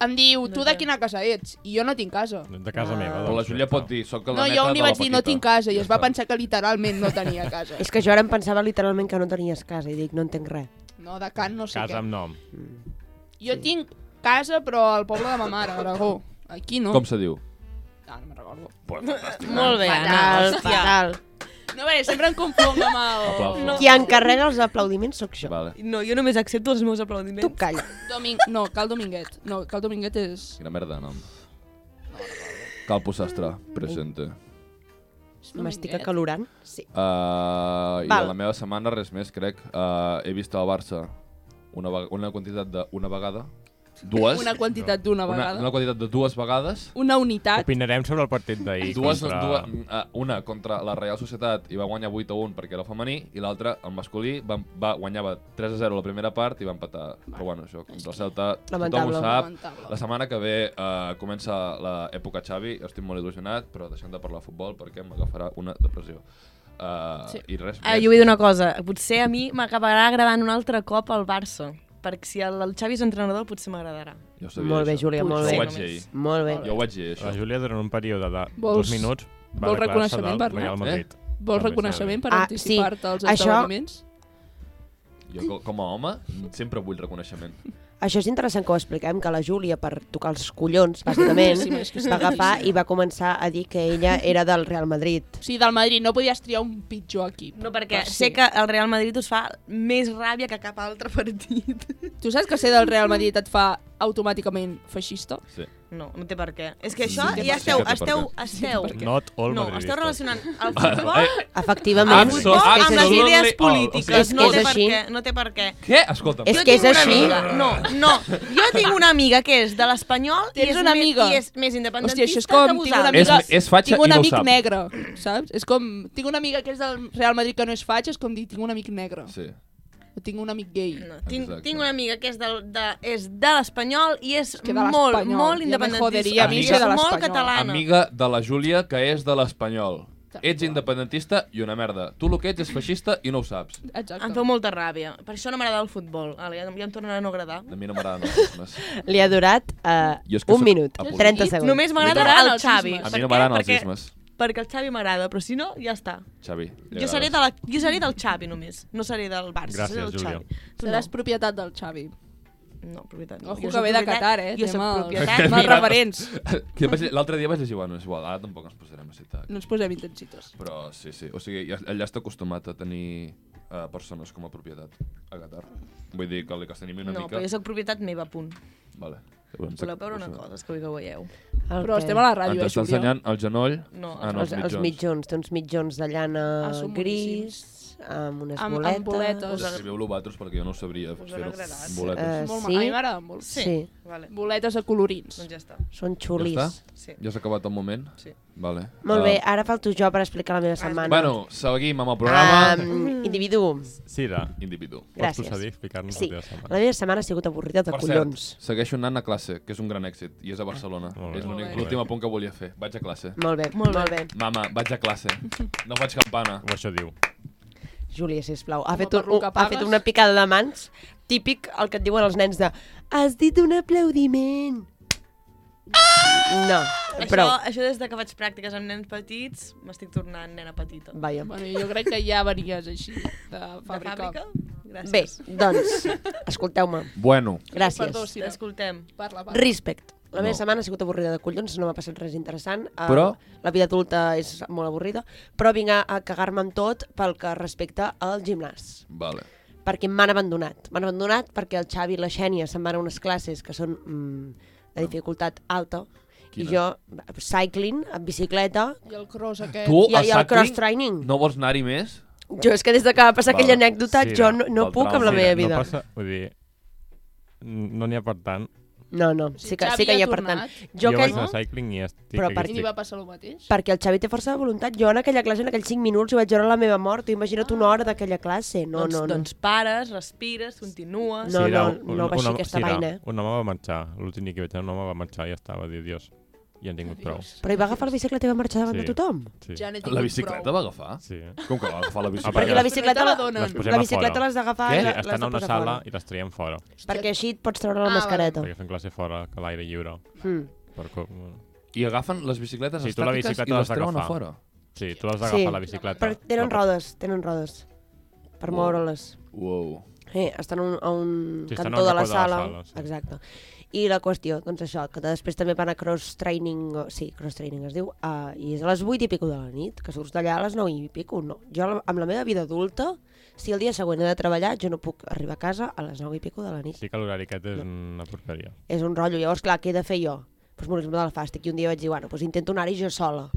Speaker 6: em diu, tu de
Speaker 3: sé.
Speaker 6: quina casa ets? I jo no tinc casa.
Speaker 4: De casa
Speaker 1: Ah.
Speaker 4: meva. doncs,
Speaker 1: Però la Júlia pot dir, soc la
Speaker 6: no,
Speaker 1: neta
Speaker 6: jo li
Speaker 1: de la
Speaker 6: vaig dir, no
Speaker 1: Paquita".
Speaker 6: tinc casa, i
Speaker 1: Ja
Speaker 6: es va
Speaker 1: està.
Speaker 6: pensar que literalment no tenia casa.
Speaker 2: És que jo ara em pensava literalment que no tenies casa i dic, no entenc res.
Speaker 6: No, de can no sé
Speaker 4: Casa
Speaker 6: què.
Speaker 4: amb nom.
Speaker 6: Jo tinc casa, però al poble de ma mare, a Aragó. Aquí no.
Speaker 1: Com se diu?
Speaker 6: Ah, no me'n recordo.
Speaker 1: Pues,
Speaker 6: Ah,
Speaker 1: fantàstic.
Speaker 3: Molt bé, Anna,
Speaker 2: Fatal,
Speaker 3: hòstia.
Speaker 2: fatal.
Speaker 6: No, bé, sempre em confongo amb el...
Speaker 1: Aplausos.
Speaker 6: No,
Speaker 2: Qui encarrega els aplaudiments sóc jo.
Speaker 1: Vale.
Speaker 3: No, jo només accepto els meus
Speaker 2: Tu
Speaker 3: aplaudiments.
Speaker 2: calla.
Speaker 6: Doming... no, Cal Dominguet. No, Cal Dominguet és...
Speaker 1: Quina merda de nom. Calpo Sastre, presente.
Speaker 6: és
Speaker 2: M'estic
Speaker 6: Dominguet.
Speaker 2: acalorant. Sí.
Speaker 1: Uh, I a
Speaker 2: Val.
Speaker 1: la meva setmana res més, crec. Uh, he vist al Barça una, vega- una quantitat d'una vegada, dues,
Speaker 6: Una quantitat d'una
Speaker 1: una,
Speaker 6: vegada.
Speaker 1: una quantitat de dues vegades,
Speaker 6: una unitat.
Speaker 4: Ah. Opinarem sobre el partit d'ahir.
Speaker 1: dues,
Speaker 4: contra-
Speaker 1: dues, uh, una contra la Real Societat i va guanyar 8 a 1 perquè era femení i l'altra, el masculí, va, va, guanyava 3 a 0 la primera part i va empatar. Però bueno, això, contra el Celta, tothom
Speaker 2: Lamentable.
Speaker 1: ho sap.
Speaker 6: Lamentable.
Speaker 1: La setmana que ve uh, comença l'època Xavi, estic molt il·lusionat, però deixant de parlar de futbol perquè m'agafarà una depressió. Uh,
Speaker 6: Sí.
Speaker 1: I
Speaker 2: Eh,
Speaker 1: res més.
Speaker 3: Ah, jo vull dir una cosa, potser a mi m'acabarà agradant un altre cop el Barça, perquè si el, el Xavi és entrenador potser m'agradarà.
Speaker 1: Jo sabia
Speaker 2: Molt bé,
Speaker 1: això.
Speaker 2: Júlia, molt
Speaker 1: Jo
Speaker 3: Potser
Speaker 1: ho
Speaker 2: bé.
Speaker 1: vaig dir ahir.
Speaker 2: Molt bé.
Speaker 1: Jo ho vaig dir, això.
Speaker 4: La Júlia durant un període de
Speaker 6: Vols-
Speaker 4: dos minuts va
Speaker 6: vols
Speaker 4: declarar-se
Speaker 6: reconeixement,
Speaker 4: del Real
Speaker 6: Bernat?
Speaker 4: Madrid.
Speaker 1: Eh?
Speaker 6: Vols
Speaker 4: També
Speaker 6: reconeixement per
Speaker 2: Ah,
Speaker 6: anticipar-te
Speaker 2: sí.
Speaker 6: als
Speaker 2: Això-
Speaker 6: esdeveniments?
Speaker 1: Jo, co- com a home, sempre vull reconeixement.
Speaker 2: Això és interessant que ho expliquem, que la Júlia, per tocar els collons, bàsicament,
Speaker 6: Sí, és que sí.
Speaker 2: va agafar i va començar a dir que ella era del Real Madrid.
Speaker 6: O sigui, del Madrid no podies triar un pitjor equip.
Speaker 3: No, perquè
Speaker 6: Va
Speaker 3: sé
Speaker 6: ser.
Speaker 3: que el Real Madrid us fa més ràbia que cap altre partit.
Speaker 6: Tu saps que ser del Real Madrid et fa automàticament feixista?
Speaker 1: Sí.
Speaker 3: No, no té per què. És que
Speaker 1: Sí
Speaker 3: això
Speaker 1: que
Speaker 3: ja
Speaker 1: per- sí que
Speaker 3: esteu,
Speaker 1: té per
Speaker 3: esteu,
Speaker 1: què.
Speaker 3: esteu...
Speaker 4: Madrid. Not all
Speaker 3: No,
Speaker 4: madridistes.
Speaker 3: esteu relacionant el futbol
Speaker 1: Eh,
Speaker 2: Efectivament.
Speaker 1: I'm
Speaker 2: és
Speaker 1: so- oh,
Speaker 3: futbol
Speaker 2: que és
Speaker 3: amb les
Speaker 2: així.
Speaker 1: absolutely
Speaker 3: idees
Speaker 1: all. O sigui,
Speaker 3: polítiques.
Speaker 2: és
Speaker 3: No
Speaker 2: que
Speaker 3: té
Speaker 2: és
Speaker 3: per
Speaker 2: així.
Speaker 3: què, no té per què.
Speaker 1: Què? Escolta'm.
Speaker 2: És
Speaker 3: Jo
Speaker 2: que és
Speaker 3: tinc una
Speaker 2: així.
Speaker 3: Amiga, no, no. Jo tinc una amiga que és de l'Espanyol i,
Speaker 6: Tens
Speaker 3: és
Speaker 6: una
Speaker 3: més-
Speaker 6: amiga?
Speaker 3: i és més
Speaker 6: Hòstia,
Speaker 3: independentista
Speaker 6: això és com...
Speaker 3: que
Speaker 6: Tinc una
Speaker 3: vosaltres.
Speaker 1: És-
Speaker 6: amiga,
Speaker 1: és fatxa
Speaker 6: tinc un
Speaker 1: i no ho
Speaker 6: amic
Speaker 1: sap.
Speaker 6: negre, saps? És com... Tinc una amiga que és del Real Madrid que no és fatxa, és com dir tinc un amic negre.
Speaker 1: Sí.
Speaker 6: O tinc un amic gay.
Speaker 3: No, tinc,
Speaker 1: Exacte.
Speaker 3: tinc una amiga que és de, de, és de l'Espanyol i és,
Speaker 6: que de
Speaker 3: molt,
Speaker 6: l'Espanyol. Ja
Speaker 3: molt
Speaker 6: me
Speaker 3: independentista.
Speaker 6: joderia
Speaker 1: a mi
Speaker 3: I
Speaker 1: ser
Speaker 3: és
Speaker 6: de
Speaker 3: molt
Speaker 6: l'Espanyol.
Speaker 3: catalana.
Speaker 1: Amiga de la Júlia, que és de l'Espanyol.
Speaker 6: Tal
Speaker 1: Ets
Speaker 6: qual.
Speaker 1: independentista i una merda. Tu el que ets és feixista i no ho saps.
Speaker 6: Exacte.
Speaker 3: Em feu molta ràbia. Per això no m'agrada el futbol. Ara, ja, ja em tornarà a no agradar.
Speaker 1: A mi no m'agraden els sismes.
Speaker 2: Li ha durat eh,
Speaker 1: Jo és que
Speaker 2: un
Speaker 1: sóc
Speaker 2: minut,
Speaker 1: apolitic.
Speaker 2: 30 segons.
Speaker 3: Només m'agrada
Speaker 1: m'agraden
Speaker 3: el
Speaker 6: els
Speaker 3: Xavi.
Speaker 6: sismes.
Speaker 1: A
Speaker 3: Per
Speaker 1: mi no
Speaker 3: què?
Speaker 1: m'agraden els
Speaker 3: Perquè
Speaker 1: sismes.
Speaker 3: perquè el Xavi m'agrada, però si no, ja està.
Speaker 1: Xavi, li
Speaker 3: Jo seré,
Speaker 1: agrades.
Speaker 3: de la, jo seré del Xavi només, no seré del Barça,
Speaker 4: Gràcies,
Speaker 3: seré del
Speaker 4: Júlia.
Speaker 3: Xavi. Tu
Speaker 6: Seràs
Speaker 3: no.
Speaker 6: propietat del Xavi.
Speaker 3: no, propietat. no.
Speaker 6: Ojo
Speaker 3: Jo
Speaker 6: que
Speaker 3: soc
Speaker 6: ve de
Speaker 3: propietat-
Speaker 6: Qatar, eh?
Speaker 3: Jo soc
Speaker 6: Tema-
Speaker 3: propietat.
Speaker 6: Mal
Speaker 1: Mira,
Speaker 3: mira,
Speaker 6: referents.
Speaker 1: Que vaig- L'altre dia vaig llegir, bueno, és igual, ara tampoc ens posarem a citar.
Speaker 6: No ens posem intensitos.
Speaker 1: Però sí, sí. O sigui, ja- allà està acostumat a tenir uh, persones com a propietat a Qatar. Vull dir que li que tenim una
Speaker 3: No,
Speaker 1: mica...
Speaker 3: però jo soc propietat meva, punt.
Speaker 1: Vale.
Speaker 3: Voleu veure una cosa, és que vull que ho veieu.
Speaker 2: El
Speaker 6: Però
Speaker 2: què?
Speaker 6: estem a la
Speaker 1: Ens
Speaker 6: ràdio, eh,
Speaker 1: està Ah, ensenyant el genoll
Speaker 3: No,
Speaker 1: ah, no,
Speaker 2: els, els mitjons, té uns mitjons de llana
Speaker 6: Ah, són
Speaker 2: gris, amb unes
Speaker 6: Amb- amb
Speaker 2: boletes.
Speaker 6: boletes.
Speaker 1: Escriviu-lo vosaltres perquè jo no sabria
Speaker 3: Us han
Speaker 1: fer-ho.
Speaker 3: agradat?
Speaker 1: Boletes.
Speaker 2: Eh,
Speaker 6: Molt
Speaker 2: sí?
Speaker 6: sí? A mi m'agraden molt.
Speaker 2: Sí.
Speaker 3: Sí. Vale.
Speaker 6: Boletes de colorins.
Speaker 3: Doncs ja està.
Speaker 2: Són
Speaker 1: ja
Speaker 2: xulis.
Speaker 1: està?
Speaker 3: Sí.
Speaker 1: Ja s'ha acabat el moment?
Speaker 3: Sí.
Speaker 1: Vale.
Speaker 2: Molt
Speaker 1: Ah,
Speaker 2: bé, ara falto jo per explicar la meva setmana.
Speaker 1: Bueno, seguim amb el programa. Um,
Speaker 2: Um, individu,
Speaker 4: Sira,
Speaker 1: Individu.
Speaker 4: pots
Speaker 2: gràcies.
Speaker 4: procedir a explicar-nos
Speaker 2: Sí,
Speaker 4: la teva
Speaker 2: la
Speaker 4: setmana?
Speaker 2: meva setmana ha sigut avorrida de
Speaker 1: Per
Speaker 2: collons.
Speaker 1: cert, Ah. segueixo anant a classe, que és un gran èxit, i és a Barcelona.
Speaker 4: Molt bé.
Speaker 1: És
Speaker 4: Molt
Speaker 1: l'únic-
Speaker 4: bé.
Speaker 1: l'últim apunt que volia fer. Vaig a classe.
Speaker 2: Molt bé,
Speaker 3: Molt
Speaker 2: molt
Speaker 3: bé.
Speaker 2: bé. Molt bé.
Speaker 1: Mama, vaig a classe. No faig campana.
Speaker 4: O això diu.
Speaker 2: Júlia, sisplau, ha
Speaker 6: Home,
Speaker 2: fet,
Speaker 6: per
Speaker 2: un,
Speaker 6: lo que
Speaker 2: ha
Speaker 6: pagues.
Speaker 2: fet una picada de mans, típic el que et diuen els nens de has dit un aplaudiment. No,
Speaker 3: Però...
Speaker 2: prou.
Speaker 3: Això, això des de que faig pràctiques amb nens petits, m'estic tornant nena petita.
Speaker 2: Vaja.
Speaker 6: Bueno, jo crec que ja venies així, de fàbrica.
Speaker 3: De fàbrica? Gràcies.
Speaker 2: Bé, doncs, escolteu-me.
Speaker 1: Bueno,
Speaker 6: Perdó,
Speaker 2: Gràcies.
Speaker 6: si no.
Speaker 3: T'escoltem.
Speaker 6: Parla, parla.
Speaker 2: Respect. La meva
Speaker 1: No.
Speaker 2: setmana ha sigut avorrida de collons, no m'ha passat res interessant. Eh,
Speaker 1: Però?
Speaker 2: La vida adulta és molt avorrida, però vinc a, a cagar-me amb tot pel que respecta al gimnàs.
Speaker 1: vale.
Speaker 2: perquè m'han abandonat. M'han abandonat perquè el Xavi i la Xènia se'n van a unes classes que són mm, de dificultat alta
Speaker 1: Quines?
Speaker 2: i jo, cycling, en bicicleta,
Speaker 6: I el cross aquest.
Speaker 1: Tu,
Speaker 2: Eh,
Speaker 4: Oh,
Speaker 2: i, i el
Speaker 1: cycling,
Speaker 2: cross-training. No.
Speaker 1: No vols anar-hi més?
Speaker 2: Jo és que des de que va passar
Speaker 1: Vale.
Speaker 2: aquella anècdota
Speaker 4: Sí,
Speaker 2: jo
Speaker 4: no,
Speaker 2: no, no
Speaker 1: el
Speaker 2: puc amb
Speaker 1: trauma.
Speaker 2: la
Speaker 1: Mira,
Speaker 2: meva vida.
Speaker 4: No passa, vull dir, no n'hi ha per tant.
Speaker 2: No, no,
Speaker 6: O sigui,
Speaker 2: sí que,
Speaker 6: Xavi
Speaker 2: sí que hi
Speaker 6: ha
Speaker 2: ha per tant.
Speaker 6: tornat.
Speaker 2: Jo,
Speaker 4: jo
Speaker 2: aquell,
Speaker 4: vaig anar a cycling i estic...
Speaker 2: Però
Speaker 4: aquí
Speaker 2: per-
Speaker 6: I li
Speaker 4: estic.
Speaker 6: va passar el mateix?
Speaker 2: perquè el Xavi té força de voluntat, jo en aquella classe, en aquells 5 minuts, jo vaig veure la meva mort. Tu imagina't una hora d'aquella classe. No,
Speaker 3: doncs,
Speaker 2: no, no.
Speaker 3: doncs pares, respires, continues.
Speaker 2: No,
Speaker 4: Sira,
Speaker 2: no,
Speaker 4: un-
Speaker 2: no va
Speaker 4: un
Speaker 2: així
Speaker 4: home-
Speaker 2: aquesta
Speaker 4: Sira,
Speaker 2: vaina. eh?
Speaker 4: Un home va marxar, l'últim dia que vaig anar, un home va marxar i ja estava, dir, Dios, ja han tingut prou.
Speaker 2: Però hi va agafar la bicicleta i va marxar davant
Speaker 4: Sí.
Speaker 2: de tothom.
Speaker 4: Sí.
Speaker 6: Ja n'he tingut
Speaker 1: La bicicleta va agafar?
Speaker 4: Sí.
Speaker 1: Com que va agafar la
Speaker 4: Ah,
Speaker 1: bicicleta?
Speaker 2: Perquè
Speaker 4: perquè
Speaker 2: la
Speaker 4: les-
Speaker 2: bicicleta,
Speaker 6: No te la
Speaker 2: la,
Speaker 6: donen.
Speaker 4: les posem
Speaker 2: la
Speaker 4: a
Speaker 2: bicicleta
Speaker 4: fora.
Speaker 2: l'has d'agafar
Speaker 1: Què?
Speaker 2: i
Speaker 4: Sí,
Speaker 1: la-
Speaker 2: l'has
Speaker 4: estan a
Speaker 2: de
Speaker 4: una
Speaker 2: posar
Speaker 4: sala
Speaker 2: fora.
Speaker 4: i les traiem fora,
Speaker 2: Perquè així et pots treure la
Speaker 6: Ah,
Speaker 2: mascareta.
Speaker 4: perquè fan classe fora, que l'aire lliure.
Speaker 2: Mm.
Speaker 4: Per co-
Speaker 1: I agafen les bicicletes
Speaker 4: Sí, tu la
Speaker 1: estàtiques
Speaker 4: bicicleta
Speaker 1: i
Speaker 4: l'has
Speaker 1: les treuen a
Speaker 4: d'agafar.
Speaker 1: fora.
Speaker 4: Sí, tu has d'agafar
Speaker 2: Sí.
Speaker 4: la bicicleta.
Speaker 2: Però tenen
Speaker 4: La-
Speaker 2: rodes, tenen rodes. Per
Speaker 1: Uau.
Speaker 2: moure-les.
Speaker 1: Wow.
Speaker 2: Eh, estan a un, a un
Speaker 4: Sí, estan a
Speaker 2: cantó
Speaker 4: un
Speaker 2: de la
Speaker 4: racó de la
Speaker 2: sala.
Speaker 4: sala, sí.
Speaker 2: Exacte. I la qüestió, doncs això, que després també van a cross-training, o- sí, cross-training es diu, uh, i és a les 8 i pico de la nit, que surts d'allà a les 9 i pico. No. Jo la- amb la meva vida adulta, si el dia següent he de treballar, jo no puc arribar a casa a les 9 i pico de la nit.
Speaker 4: Sí que l'horari aquest és una porqueria.
Speaker 2: És un rotllo. Llavors, clar, què he de fer jo? Doncs morir-me del fàstic. I un dia vaig dir, bueno, doncs intento anar-hi jo sola.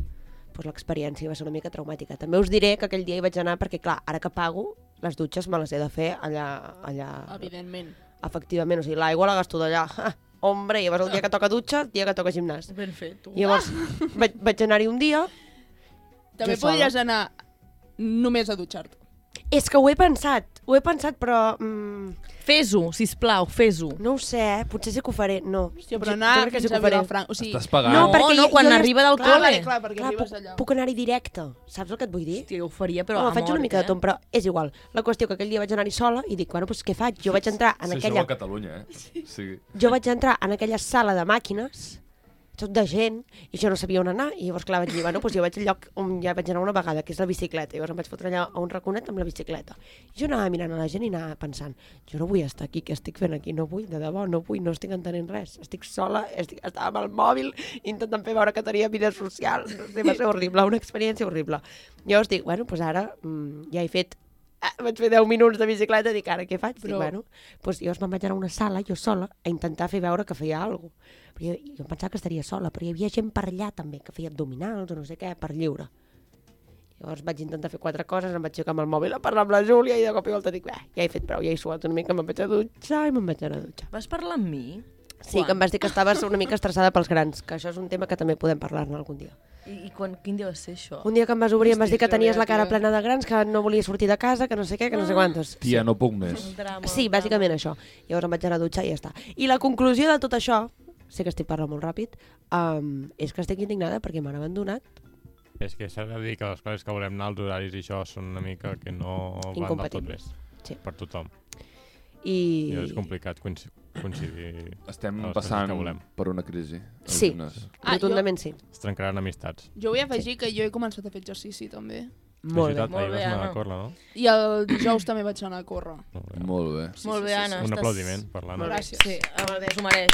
Speaker 2: Doncs l'experiència va ser una mica traumàtica. També us diré que aquell dia hi vaig anar perquè, clar, ara que pago, les dutxes me les he de fer allà, allà
Speaker 6: Evidentment.
Speaker 2: efectivament. O sigui, l'aigua la gasto d'allà. Ah, hombre, llavors el dia que toca dutxa, el dia que toca gimnàs.
Speaker 3: Ben fet, tu.
Speaker 2: Llavors, vaig, vaig anar-hi un dia.
Speaker 6: També
Speaker 2: Jo sola.
Speaker 6: podries anar només a dutxar-te.
Speaker 2: És que ho he pensat, ho he pensat, però... Mm,
Speaker 3: Fes-ho, sisplau, fes-ho.
Speaker 2: no ho sé, eh? potser sí que ho faré. No,
Speaker 6: Hòstia, però anar
Speaker 2: jo crec que sí
Speaker 6: fins
Speaker 2: que
Speaker 6: a
Speaker 2: ho faré.
Speaker 6: Vilafranca... O sigui,
Speaker 1: Estàs pagant.
Speaker 2: No,
Speaker 3: No,
Speaker 2: perquè
Speaker 3: no,
Speaker 2: jo-
Speaker 3: quan
Speaker 2: jo les-
Speaker 3: arriba del
Speaker 2: clar, eh?
Speaker 6: clar,
Speaker 3: col·le.
Speaker 6: vale, clar, perquè
Speaker 2: Clar,
Speaker 6: arribes
Speaker 2: puc,
Speaker 6: allà.
Speaker 2: puc anar-hi directe, saps el que et vull dir?
Speaker 3: Hòstia, jo ho faria, però
Speaker 2: Però
Speaker 3: a
Speaker 2: no, Oh, faig
Speaker 3: mort,
Speaker 2: una mica
Speaker 3: eh?
Speaker 2: de tom, però és igual. La qüestió que aquell dia vaig anar-hi sola i dic, bueno, doncs què faig? Jo vaig entrar en
Speaker 1: Sí,
Speaker 2: aquella...
Speaker 1: sou a Catalunya, eh? Sí. sí.
Speaker 2: Jo vaig entrar en aquella sala de màquines, tot de gent, i jo no sabia on anar, i llavors, clar, vaig dir, bueno, doncs jo vaig al lloc on ja vaig anar una vegada, que és la bicicleta, llavors em vaig fotre allà a un raconet amb la bicicleta. I jo anava mirant a la gent i anava pensant, jo no vull estar aquí, què estic fent aquí? No vull, de debò, no vull, no estic entenent res, estic sola, estic, estava amb el mòbil, intentant fer veure que tenia vida social, no sé, va ser horrible, una experiència horrible. Llavors dic, bueno, doncs ara mm, ja he fet Ah, vaig fer 10 minuts de bicicleta i dic, ara què faig? Però... Dic,
Speaker 6: Però-
Speaker 2: bueno, doncs jo es me'n vaig anar a una sala, jo sola, a intentar fer veure que feia alguna cosa. Però jo, jo em pensava que estaria sola, però hi havia gent per allà també, que feia abdominals o no sé què, per lliure. Llavors vaig intentar fer quatre coses, em vaig aixecar amb el mòbil a parlar amb la Júlia i de cop i volta dic, "Bé, ja he fet prou, ja he suat una mica, me'n vaig a dutxar i me'n vaig anar a dutxar.
Speaker 3: Vas parlar amb mi?
Speaker 2: Sí, que em vas dir que estaves una mica estressada pels grans, que això és un tema que també podem parlar-ne algun dia.
Speaker 3: I, i quan, quin dia va ser això?
Speaker 2: Un dia que em vas obrir em vas dir que
Speaker 6: Hòstia,
Speaker 2: tenies la cara
Speaker 6: Júlia, tia.
Speaker 2: plena de grans, que no volies sortir de casa, que no sé què, que no sé quantos.
Speaker 1: Tia, no puc més.
Speaker 3: El drama.
Speaker 2: Sí, bàsicament això. Llavors em vaig anar a dutxar i ja està. I la conclusió de tot això, sé que estic parlant molt ràpid, um, és que estic indignada perquè m'han abandonat.
Speaker 4: És que s'ha de dir que les coses que volem anar, els horaris i això, són una mica que no van del tot bé.
Speaker 2: Incompatibles. Sí.
Speaker 4: Per tothom. I...
Speaker 2: I,
Speaker 4: és complicat coinci- coincidir...
Speaker 1: Estem
Speaker 4: A les coses
Speaker 1: passant
Speaker 4: que volem.
Speaker 1: per una crisi.
Speaker 2: Sí.
Speaker 1: algunes.
Speaker 6: Ah, jo-
Speaker 2: Rotundament sí.
Speaker 4: Es trencaran amistats.
Speaker 6: Jo vull afegir que jo he començat a fer exercici, també.
Speaker 2: Molt bé.
Speaker 4: Felicitat,
Speaker 3: molt
Speaker 4: ahir
Speaker 3: bé,
Speaker 4: vas anar
Speaker 3: Anna.
Speaker 4: a córrer, no?
Speaker 6: I el dijous també vaig anar a córrer.
Speaker 4: Molt bé.
Speaker 1: Molt bé.
Speaker 3: Sí, Molt bé, Anna.
Speaker 4: Un
Speaker 3: estàs-
Speaker 4: aplaudiment per l'Anna.
Speaker 6: Gràcies.
Speaker 3: Sí, molt bé, s'ho mereix.